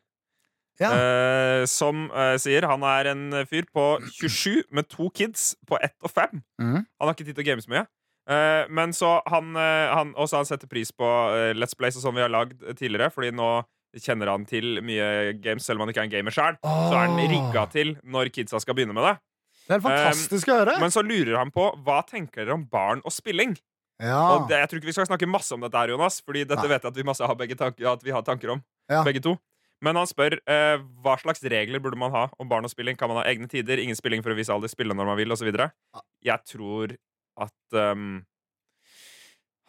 [SPEAKER 2] Ja.
[SPEAKER 3] eh, som eh, sier han er en fyr på 27 med to kids på ett og fem.
[SPEAKER 2] Mhm.
[SPEAKER 3] Han har ikke tid til å game så mye. Eh, men så han, eh, han også han setter pris på eh, Let's Plays og sånn vi har lagd tidligere, fordi nå kjenner han til mye games, selv om han ikke er en gamer sjøl. Så
[SPEAKER 2] Ah.
[SPEAKER 3] er han rigga til når kidsa skal begynne med det.
[SPEAKER 2] Det er fantastisk å høre.
[SPEAKER 3] Men så lurer han på hva tenker dere om barn og spilling.
[SPEAKER 2] Ja.
[SPEAKER 3] Og det, jeg tror ikke vi skal snakke masse om dette her, Jonas, Fordi dette
[SPEAKER 2] Ah. Nei.
[SPEAKER 3] vet jeg at vi, masse har begge tanker, at vi har tanker om.
[SPEAKER 2] Ja.
[SPEAKER 3] Begge to Men han spør eh, hva slags regler burde man ha om barn og spilling. Kan man ha egne tider, ingen spilling for å vise alder, spille når man vil, osv.?
[SPEAKER 2] Ah.
[SPEAKER 3] Jeg tror at ehm,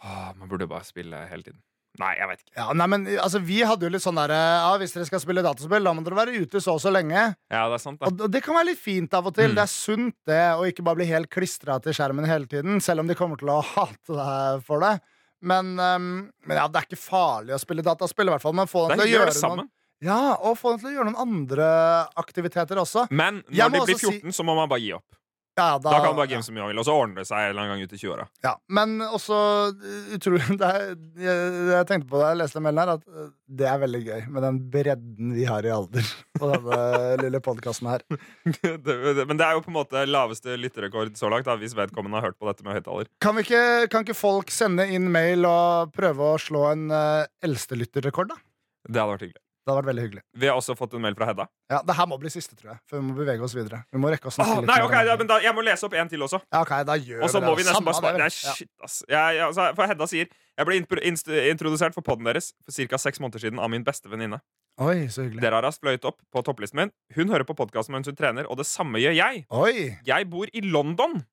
[SPEAKER 3] åh, Man burde bare spille hele tiden. Nei, jeg vet ikke.
[SPEAKER 2] Ja, nei, men altså, Vi hadde jo litt sånn der ja, Hvis dere skal spille dataspill, da må dere være ute så og så lenge.
[SPEAKER 3] Ja, det er sant, da.
[SPEAKER 2] Og, og Det kan være litt fint av og til.
[SPEAKER 3] Mm.
[SPEAKER 2] Det er sunt det, å ikke bare bli helt klistra til skjermen hele tiden, selv om de kommer til å hate deg for det. Men, ehm, men ja, det er ikke farlig å spille dataspill, i hvert fall. Men få
[SPEAKER 3] Det
[SPEAKER 2] dem til å
[SPEAKER 3] er hyggelig å
[SPEAKER 2] gjøre
[SPEAKER 3] være sammen.
[SPEAKER 2] noen, ja, og få dem til å gjøre noen andre aktiviteter også.
[SPEAKER 3] Men
[SPEAKER 2] Jeg
[SPEAKER 3] når
[SPEAKER 2] må
[SPEAKER 3] de blir
[SPEAKER 2] også
[SPEAKER 3] 14, så må man bare gi opp.
[SPEAKER 2] Ja,
[SPEAKER 3] Da kan man bare game så mye man vil, og så ordner det seg en eller annen gang ut i 20-åra.
[SPEAKER 2] Ja, men også uh, utrolig det er, jeg, jeg tenkte på det jeg leste den mailen her, at uh, det er veldig gøy med den bredden vi har i alder på denne lille podkasten her.
[SPEAKER 3] Det- det- Men det er jo på en måte laveste lytterrekord så langt, da, hvis vedkommende har hørt på dette med høyttaler.
[SPEAKER 2] Kan, vi ikke, kan ikke folk sende inn mail og prøve å slå en uh, eldstelytterrekord, da?
[SPEAKER 3] Det hadde vært hyggelig.
[SPEAKER 2] Det hadde vært veldig hyggelig.
[SPEAKER 3] Vi har også fått en mail fra Hedda.
[SPEAKER 2] Ja, Det her må bli siste, tror jeg. For vi må bevege oss videre. Vi må rekke å snakke
[SPEAKER 3] Åh,
[SPEAKER 2] litt
[SPEAKER 3] Ah, nei,
[SPEAKER 2] med
[SPEAKER 3] ok,
[SPEAKER 2] hverandre.
[SPEAKER 3] ja, men da, Jeg må lese opp en til også.
[SPEAKER 2] ja, ok, da gjør
[SPEAKER 3] Og så
[SPEAKER 2] vi
[SPEAKER 3] må
[SPEAKER 2] det.
[SPEAKER 3] vi
[SPEAKER 2] da.
[SPEAKER 3] nesten bare
[SPEAKER 2] Samme det,
[SPEAKER 3] svare. Det er
[SPEAKER 2] vel.
[SPEAKER 3] shit, ass. Jeg, jeg, altså, for Hedda sier Jeg ble intro- inst- introdusert for podden deres for ca. seks måneder siden av min beste venninne.
[SPEAKER 2] Ja. Oi, så hyggelig.
[SPEAKER 3] Dere har raskt fløyet opp på topplisten min. Hun hører på podkasten mens hun trener, og det samme gjør jeg.
[SPEAKER 2] Oi!
[SPEAKER 3] Jeg bor i London.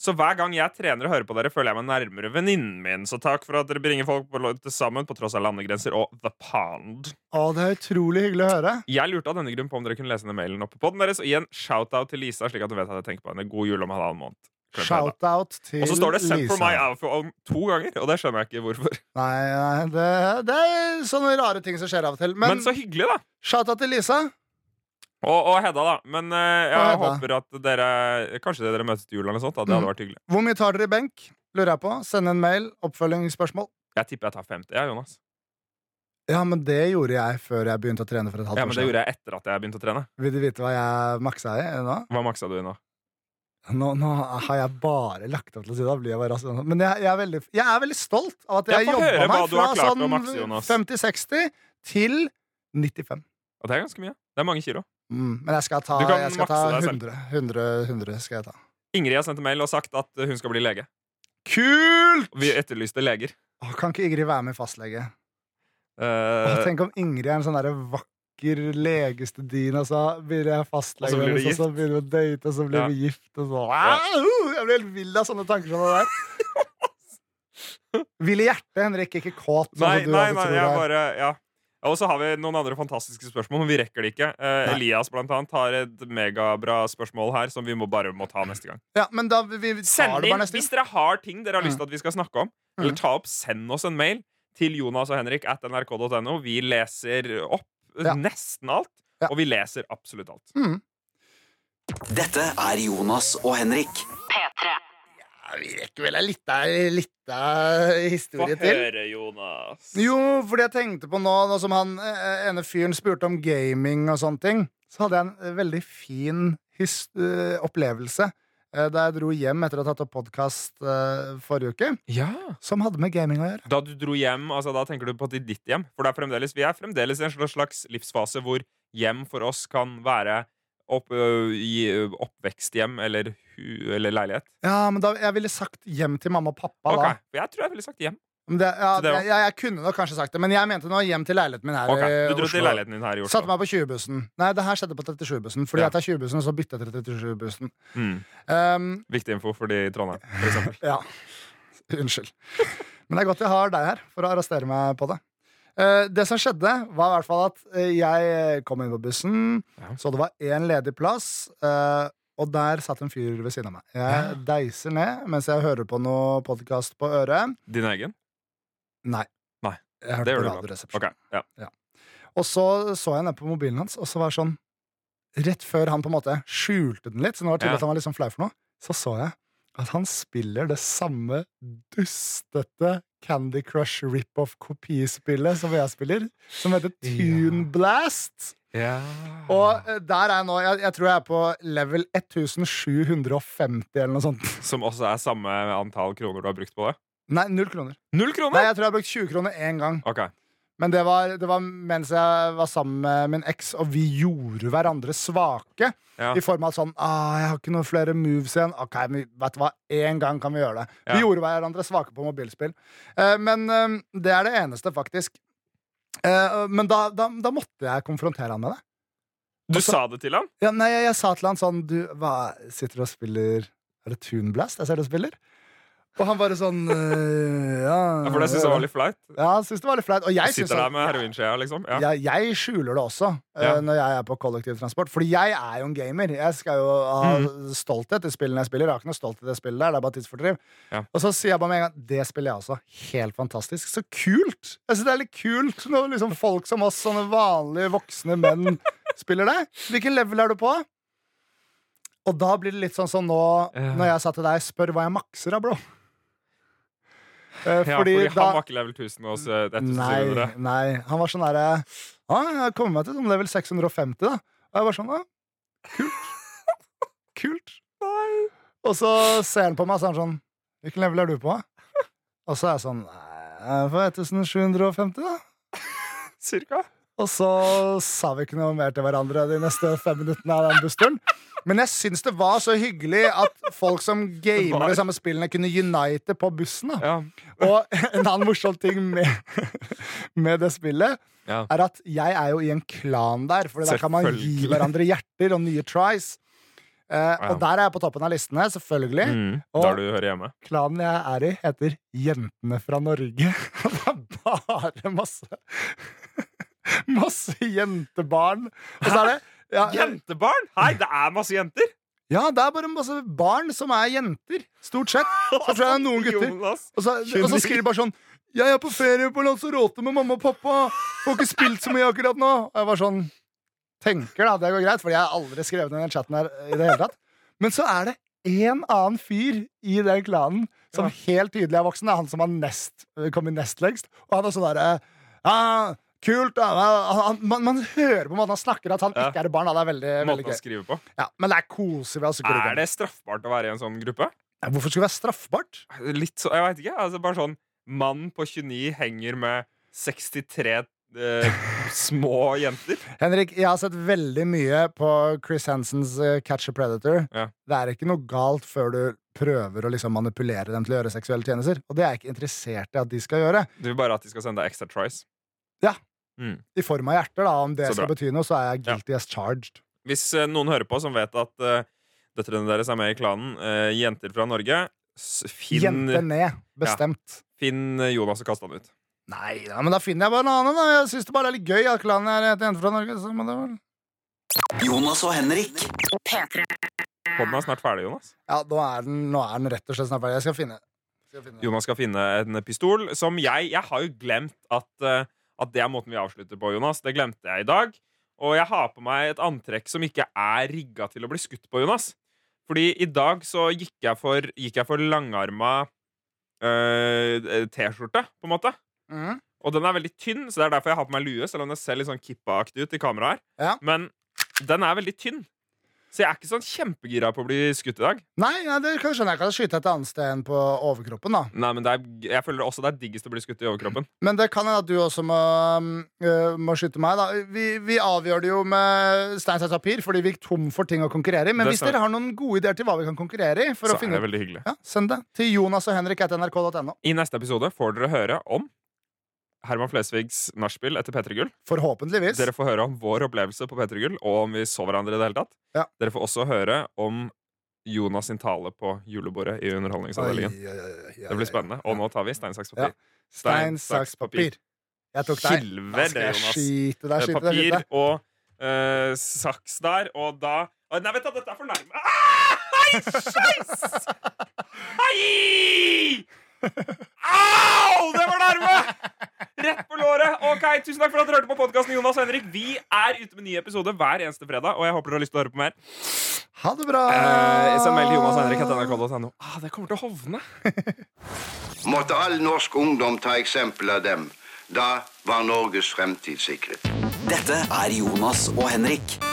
[SPEAKER 3] Så hver gang jeg trener og hører på dere, føler jeg meg nærmere venninnen min. Så takk for at dere bringer folk på lo- til sammen på tross av landegrenser og the pond.
[SPEAKER 2] Å, det er utrolig hyggelig å høre.
[SPEAKER 3] Jeg lurte av denne grunn på om dere kunne lese denne mailen oppe på den deres. Og igjen, shout-out til Lisa, slik at hun vet at jeg tenker på henne. God jul om halvannen måned. Klart det er da.
[SPEAKER 2] Shout-out til
[SPEAKER 3] Og så står det 'Send for
[SPEAKER 2] Lisa.
[SPEAKER 3] my outfit' to ganger, og det skjønner jeg ikke hvorfor.
[SPEAKER 2] Nei, nei det, det er sånne rare ting som skjer av og til.
[SPEAKER 3] Men,
[SPEAKER 2] Men,
[SPEAKER 3] så hyggelig, da.
[SPEAKER 2] shout-out til Lisa.
[SPEAKER 3] Og, og Hedda, da. Men eh, jeg
[SPEAKER 2] Og Hedda. Mm.
[SPEAKER 3] håper at dere Kanskje dere møtes til jul eller noe sånt. Da. Det hadde vært hyggelig.
[SPEAKER 2] Hvor mye tar dere i benk? Lurer jeg på. Send en mail. Oppfølgingsspørsmål.
[SPEAKER 3] Jeg tipper jeg tar 50, jeg, Jonas.
[SPEAKER 2] Ja, men det gjorde jeg før jeg begynte å trene for et halvt
[SPEAKER 3] Ja,
[SPEAKER 2] år
[SPEAKER 3] Men det
[SPEAKER 2] siden.
[SPEAKER 3] gjorde jeg etter at jeg begynte å trene.
[SPEAKER 2] Vil du vite hva jeg maksa i nå?
[SPEAKER 3] Hva maksa du i nå?
[SPEAKER 2] nå? Nå har jeg bare lagt opp til å si det. Da blir jeg bare rask. Men jeg, jeg, er veldig, jeg er veldig stolt av at
[SPEAKER 3] Ja,
[SPEAKER 2] jeg
[SPEAKER 3] få høre
[SPEAKER 2] jobba
[SPEAKER 3] hva
[SPEAKER 2] meg
[SPEAKER 3] du
[SPEAKER 2] fra
[SPEAKER 3] har klart med å makse,
[SPEAKER 2] sånn
[SPEAKER 3] Jonas.
[SPEAKER 2] 50-60 til 95.
[SPEAKER 3] Og det er ganske mye. Det er mange kilo.
[SPEAKER 2] Mm, men jeg skal ta,
[SPEAKER 3] Du kan
[SPEAKER 2] jeg skal ta
[SPEAKER 3] makse deg selv.
[SPEAKER 2] 100, 100. 100 skal jeg ta.
[SPEAKER 3] Ingrid har sendt en mail og sagt at hun skal bli lege.
[SPEAKER 2] Kult!
[SPEAKER 3] Og Vi etterlyste leger.
[SPEAKER 2] Å, Kan ikke Ingrid være med i fastlege?
[SPEAKER 3] Eh,
[SPEAKER 2] Åh, tenk om Ingrid er en sånn der vakker legestudin, og så blir jeg fastlege,
[SPEAKER 3] Og så blir vi
[SPEAKER 2] og så begynner vi å date, og så blir
[SPEAKER 3] Ja.
[SPEAKER 2] vi gift, og så Au! Jeg blir helt vill av sånne tanker som det der. Vill i hjertet, Henrik, ikke kåt. sånn
[SPEAKER 3] Nei,
[SPEAKER 2] som du
[SPEAKER 3] nei,
[SPEAKER 2] altså
[SPEAKER 3] nei
[SPEAKER 2] tror
[SPEAKER 3] jeg
[SPEAKER 2] det er.
[SPEAKER 3] bare ja. Og så har vi noen andre fantastiske spørsmål, men vi rekker det ikke. Eh,
[SPEAKER 2] Nei.
[SPEAKER 3] Elias blant annet har et megabra spørsmål her som vi må bare må ta neste gang.
[SPEAKER 2] Ja, men da vi, vi tar
[SPEAKER 3] Send
[SPEAKER 2] det
[SPEAKER 3] inn,
[SPEAKER 2] bare neste
[SPEAKER 3] Hvis dere har ting dere har lyst
[SPEAKER 2] Mm.
[SPEAKER 3] til at vi skal snakke om, eller
[SPEAKER 2] Mm.
[SPEAKER 3] ta opp, send oss en mail til Jonas og Henrik at nrk.no. Vi leser opp eh,
[SPEAKER 2] Ja.
[SPEAKER 3] nesten alt,
[SPEAKER 2] Ja.
[SPEAKER 3] og vi leser absolutt alt.
[SPEAKER 2] Mm.
[SPEAKER 1] Dette er Jonas og Henrik.
[SPEAKER 4] P3.
[SPEAKER 2] Ja, vi rekker vel en liten liten
[SPEAKER 3] Få
[SPEAKER 2] historie til.
[SPEAKER 3] høre, Jonas.
[SPEAKER 2] Jo, fordi jeg tenkte på nå, nå som han eh, ene fyren spurte om gaming og sånne ting, så hadde jeg en eh, veldig fin his eh, opplevelse eh, da jeg dro hjem etter å ha tatt opp podkast forrige uke,
[SPEAKER 3] Ja.
[SPEAKER 2] som hadde med gaming å gjøre.
[SPEAKER 3] Da du dro hjem, altså da tenker du på til ditt hjem. For det er fremdeles, vi er fremdeles i en slags- slags livsfase hvor hjem for oss kan være opp, øh, i, øh, oppveksthjem eller, hu, eller leilighet.
[SPEAKER 2] Ja, men da, Jeg ville sagt hjem til mamma og pappa.
[SPEAKER 3] Ok,
[SPEAKER 2] da
[SPEAKER 3] for Jeg tror jeg ville sagt hjem.
[SPEAKER 2] Men det, ja,
[SPEAKER 3] Så det var-
[SPEAKER 2] jeg, jeg kunne nok kanskje sagt det, men jeg mente nå hjem til leiligheten min her
[SPEAKER 3] Ok, Du
[SPEAKER 2] i
[SPEAKER 3] dro til
[SPEAKER 2] Oslo.
[SPEAKER 3] leiligheten din her i
[SPEAKER 2] Satte
[SPEAKER 3] Oslo.
[SPEAKER 2] meg på 20-bussen. Nei, det her skjedde på 37-bussen. Fordi
[SPEAKER 3] Ja.
[SPEAKER 2] jeg tar 20-bussen, og så bytter jeg til 37-bussen.
[SPEAKER 3] Mm.
[SPEAKER 2] Ehm,
[SPEAKER 3] Viktig info for de i Trondheim, for eksempel.
[SPEAKER 2] ja. Unnskyld. Men det er godt jeg har deg her for å arrestere meg på det. Eh, det som skjedde, var i hvert fall at eh, jeg kom inn på bussen,
[SPEAKER 3] Ja.
[SPEAKER 2] så det var én ledig plass, eh, og der satt en fyr ved siden av meg. Jeg
[SPEAKER 3] Ja.
[SPEAKER 2] deiser ned mens jeg hører på noe podkast på øret.
[SPEAKER 3] Din egen?
[SPEAKER 2] Nei.
[SPEAKER 3] Nei,
[SPEAKER 2] Jeg hørte
[SPEAKER 3] Det gjør
[SPEAKER 2] på
[SPEAKER 3] du bra.
[SPEAKER 2] Radioresepsjonen.
[SPEAKER 3] Ok, ja.
[SPEAKER 2] Og så så jeg ned på mobilen hans, og så var det sånn Rett før han på en måte skjulte den litt, så nå var det tydelig
[SPEAKER 3] Ja.
[SPEAKER 2] at han var litt sånn flau for noe, så så jeg at han spiller det samme dustete Candy Crush rip-off-kopispillet som jeg spiller, som heter Tune
[SPEAKER 3] Ja.
[SPEAKER 2] Blast. Og eh, der er jeg nå. Jeg, jeg tror jeg er på level 1750 eller noe sånt.
[SPEAKER 3] Som også er samme antall kroner du har brukt på det?
[SPEAKER 2] Nei, null kroner.
[SPEAKER 3] Null
[SPEAKER 2] Nei,
[SPEAKER 3] kroner!
[SPEAKER 2] jeg tror jeg har brukt 20 kroner én gang.
[SPEAKER 3] Ok,
[SPEAKER 2] Men det var, det var mens jeg var sammen med min eks, og vi gjorde hverandre svake.
[SPEAKER 3] Ja.
[SPEAKER 2] I form av sånn ah, 'Jeg har ikke noen flere moves igjen.' Ok, men vet du hva, én gang kan vi gjøre det.
[SPEAKER 3] Ja.
[SPEAKER 2] Vi gjorde hverandre svake på mobilspill. Eh, men eh, det er det eneste, faktisk. Eh, men da, da, da måtte jeg konfrontere han med det.
[SPEAKER 3] Du
[SPEAKER 2] Og så-
[SPEAKER 3] sa det til ham?
[SPEAKER 2] Ja, nei, jeg, jeg sa til han sånn Du, hva sitter du og spiller Er det Toon Blast jeg ser du spiller? Og han bare sånn eh, ja,
[SPEAKER 3] For det syns jeg var litt flaut.
[SPEAKER 2] Ja, han syntes det var litt flaut. Og jeg
[SPEAKER 3] Sitter
[SPEAKER 2] syns
[SPEAKER 3] der med heroinskjea, liksom. Ja.
[SPEAKER 2] jeg, jeg skjuler det også eh,
[SPEAKER 3] Ja.
[SPEAKER 2] når jeg er på kollektivtransport. Fordi jeg er jo en gamer. Jeg skal jo ha
[SPEAKER 3] Mm.
[SPEAKER 2] stolthet i spillene jeg spiller. Jeg har ikke noe stolthet i det spillet der, det er bare tidsfordriv.
[SPEAKER 3] Ja.
[SPEAKER 2] Og så sier jeg bare med en gang det spiller jeg også. Helt fantastisk. Så kult! Jeg synes det er litt kult når liksom folk som oss, sånne vanlige voksne menn, spiller det. Hvilken level er du på? Og da blir det litt sånn som nå,
[SPEAKER 3] Ja.
[SPEAKER 2] når jeg sa til deg, spør hva jeg makser av, bro. Eh,
[SPEAKER 3] Ja, fordi han var ikke level 1000 og oss eh, 1700.
[SPEAKER 2] Nei, nei. Han var sånn derre Ja, jeg kommer meg til sånn level 650, da. Og jeg var sånn, ja. Kult. Kult. Og så ser han på meg, og så er han sånn Hvilken level er du på? Og så er jeg sånn Nei, jeg er på 1750, da.
[SPEAKER 3] Cirka.
[SPEAKER 2] Og så sa vi ikke noe mer til hverandre de neste fem minuttene av den bussturen. Men jeg syns det var så hyggelig at folk som
[SPEAKER 3] Det var-
[SPEAKER 2] gamer de samme spillene, kunne unite på bussen. da
[SPEAKER 3] Ja.
[SPEAKER 2] og en annen morsom ting med, med det spillet
[SPEAKER 3] Ja.
[SPEAKER 2] er at jeg er jo i en klan der, for der kan man gi
[SPEAKER 3] Selvfølgelig.
[SPEAKER 2] hverandre hjerter og nye tries. Eh, Og der er jeg på toppen av listene, selvfølgelig.
[SPEAKER 3] Mm.
[SPEAKER 2] Og-
[SPEAKER 3] Der du hører hjemme.
[SPEAKER 2] Klanen jeg er i, heter Jentene fra Norge. Og det er bare masse Masse jentebarn. Og så er det ja,
[SPEAKER 3] Jentebarn! Hei, det er masse jenter!
[SPEAKER 2] ja, det er bare masse barn som er jenter. Stort sett. Så tror jeg det er noen gutter
[SPEAKER 3] Jonas.
[SPEAKER 2] Og så, og så skriver de bare sånn Jeg er på ferie på Lanzarote med mamma og pappa. Får ikke spilt så mye akkurat nå. Og jeg var sånn Tenker da, det går greit, Fordi jeg har aldri skrevet ned den chatten her i det hele tatt. Men så er det en annen fyr i den klanen som
[SPEAKER 3] Ja.
[SPEAKER 2] helt tydelig er voksen. Det er han som har nest, kommet nest lengst. Og han er sånn derre ja, Kult, da. Han- han- Man, man hører på måten han snakker, at han
[SPEAKER 3] Ja.
[SPEAKER 2] ikke er et barn. Da. Det er veldig, veldig
[SPEAKER 3] Måten å
[SPEAKER 2] gøy.
[SPEAKER 3] skrive på.
[SPEAKER 2] Ja, men det er koselig. ved å sykle
[SPEAKER 3] Er
[SPEAKER 2] rundt.
[SPEAKER 3] det straffbart å være i en sånn gruppe?
[SPEAKER 2] Hvorfor skulle det være straffbart?
[SPEAKER 3] Litt så, Jeg veit ikke. Altså bare sånn Mann på 29 henger med 63 eh, små jenter.
[SPEAKER 2] Henrik, jeg har sett veldig mye på Chris Hansens eh, Catch a Predator.
[SPEAKER 3] Ja.
[SPEAKER 2] Det er ikke noe galt før du prøver å liksom manipulere dem til å gjøre seksuelle tjenester. Og det er jeg ikke interessert i at de skal gjøre.
[SPEAKER 3] Du vil bare at de skal sende deg extra tries.
[SPEAKER 2] I form av hjerter, da. Om det
[SPEAKER 3] Så bra.
[SPEAKER 2] skal bety noe, så er jeg guilty as charged.
[SPEAKER 3] Hvis eh, noen hører på som vet at eh, døtrene deres er med i klanen eh, Jenter fra Norge, s- finn,
[SPEAKER 2] Jente ned. Bestemt.
[SPEAKER 3] finn eh, Jonas og kast han ut.
[SPEAKER 2] Nei da, men da finner jeg bare en annen, da. Jeg syns det bare er litt gøy at klanen er et jente fra Norge. Så må det vel
[SPEAKER 1] Jonas og Henrik.
[SPEAKER 3] Podden er snart ferdig, Jonas.
[SPEAKER 2] Ja, nå er, den, nå er den rett og slett snart ferdig. Jeg skal finne, skal finne.
[SPEAKER 3] Jonas skal finne en pistol som jeg Jeg har jo glemt at, eh, at det er måten vi avslutter på, Jonas. Det glemte jeg i dag. Og jeg har på meg et antrekk som ikke er rigga til å bli skutt på, Jonas. Fordi i dag så gikk jeg for, gikk jeg for langarma eh, T-skjorte, på en måte.
[SPEAKER 2] Mhm.
[SPEAKER 3] Og den er veldig tynn, så det er derfor jeg har på meg lue, selv om det ser litt sånn kippa-aktig ut i kameraet her.
[SPEAKER 2] Ja.
[SPEAKER 3] Men den er veldig tynn. Så jeg er ikke sånn kjempegira på å bli skutt i dag.
[SPEAKER 2] Nei, nei, det kan jeg skjønne. Jeg kan skyte et annet sted enn på overkroppen. da
[SPEAKER 3] Nei, men det er, Jeg føler også det er diggest å bli skutt i overkroppen.
[SPEAKER 2] Men det kan hende at du også må, øh, må skyte meg. da Vi, vi avgjør det jo med stein, saks, papir, fordi vi gikk tom for ting å konkurrere i. Men
[SPEAKER 3] Det
[SPEAKER 2] hvis
[SPEAKER 3] stemmer.
[SPEAKER 2] dere har noen gode ideer til hva vi kan konkurrere i, for
[SPEAKER 3] Så
[SPEAKER 2] å
[SPEAKER 3] er
[SPEAKER 2] finne
[SPEAKER 3] det veldig hyggelig.
[SPEAKER 2] ja, send det til Jonas og Henrik etter nrk.no.
[SPEAKER 3] I neste episode får dere høre om Herman Flesvigs nachspiel etter P3 Gull.
[SPEAKER 2] Forhåpentligvis.
[SPEAKER 3] Dere får høre om vår opplevelse på P3 Gull, og om vi så hverandre i det hele tatt.
[SPEAKER 2] Ja.
[SPEAKER 3] Dere får også høre om Jonas sin tale på julebordet i Underholdningsavdelingen. Det blir spennende. Og nå tar vi stein, saks, papir.
[SPEAKER 2] Ja. Stein, saks, papir. Jeg tok deg. Da
[SPEAKER 3] Kilver det,
[SPEAKER 2] skal jeg
[SPEAKER 3] Jonas.
[SPEAKER 2] skyte deg,
[SPEAKER 3] Eh,
[SPEAKER 2] skyte deg,
[SPEAKER 3] Papir
[SPEAKER 2] skyte deg.
[SPEAKER 3] og eh, saks der, og da Å, Nei, vet du, dette er for nærme. Ah! Hei, skeis! Hei! Au! Det var nærme! Rett på låret. Ok, Tusen takk for at dere hørte på podkasten. Jonas og Henrik. Vi er ute med nye episoder hver eneste fredag, og jeg håper dere har lyst til å høre på mer.
[SPEAKER 2] Ha det bra!
[SPEAKER 3] Eh, send mail til Jonas og Henrik at nrk.no. Ah, det kommer til å hovne.
[SPEAKER 4] måtte all norsk ungdom ta eksempel av dem. Da var Norges fremtid sikret.
[SPEAKER 1] Dette er Jonas og Henrik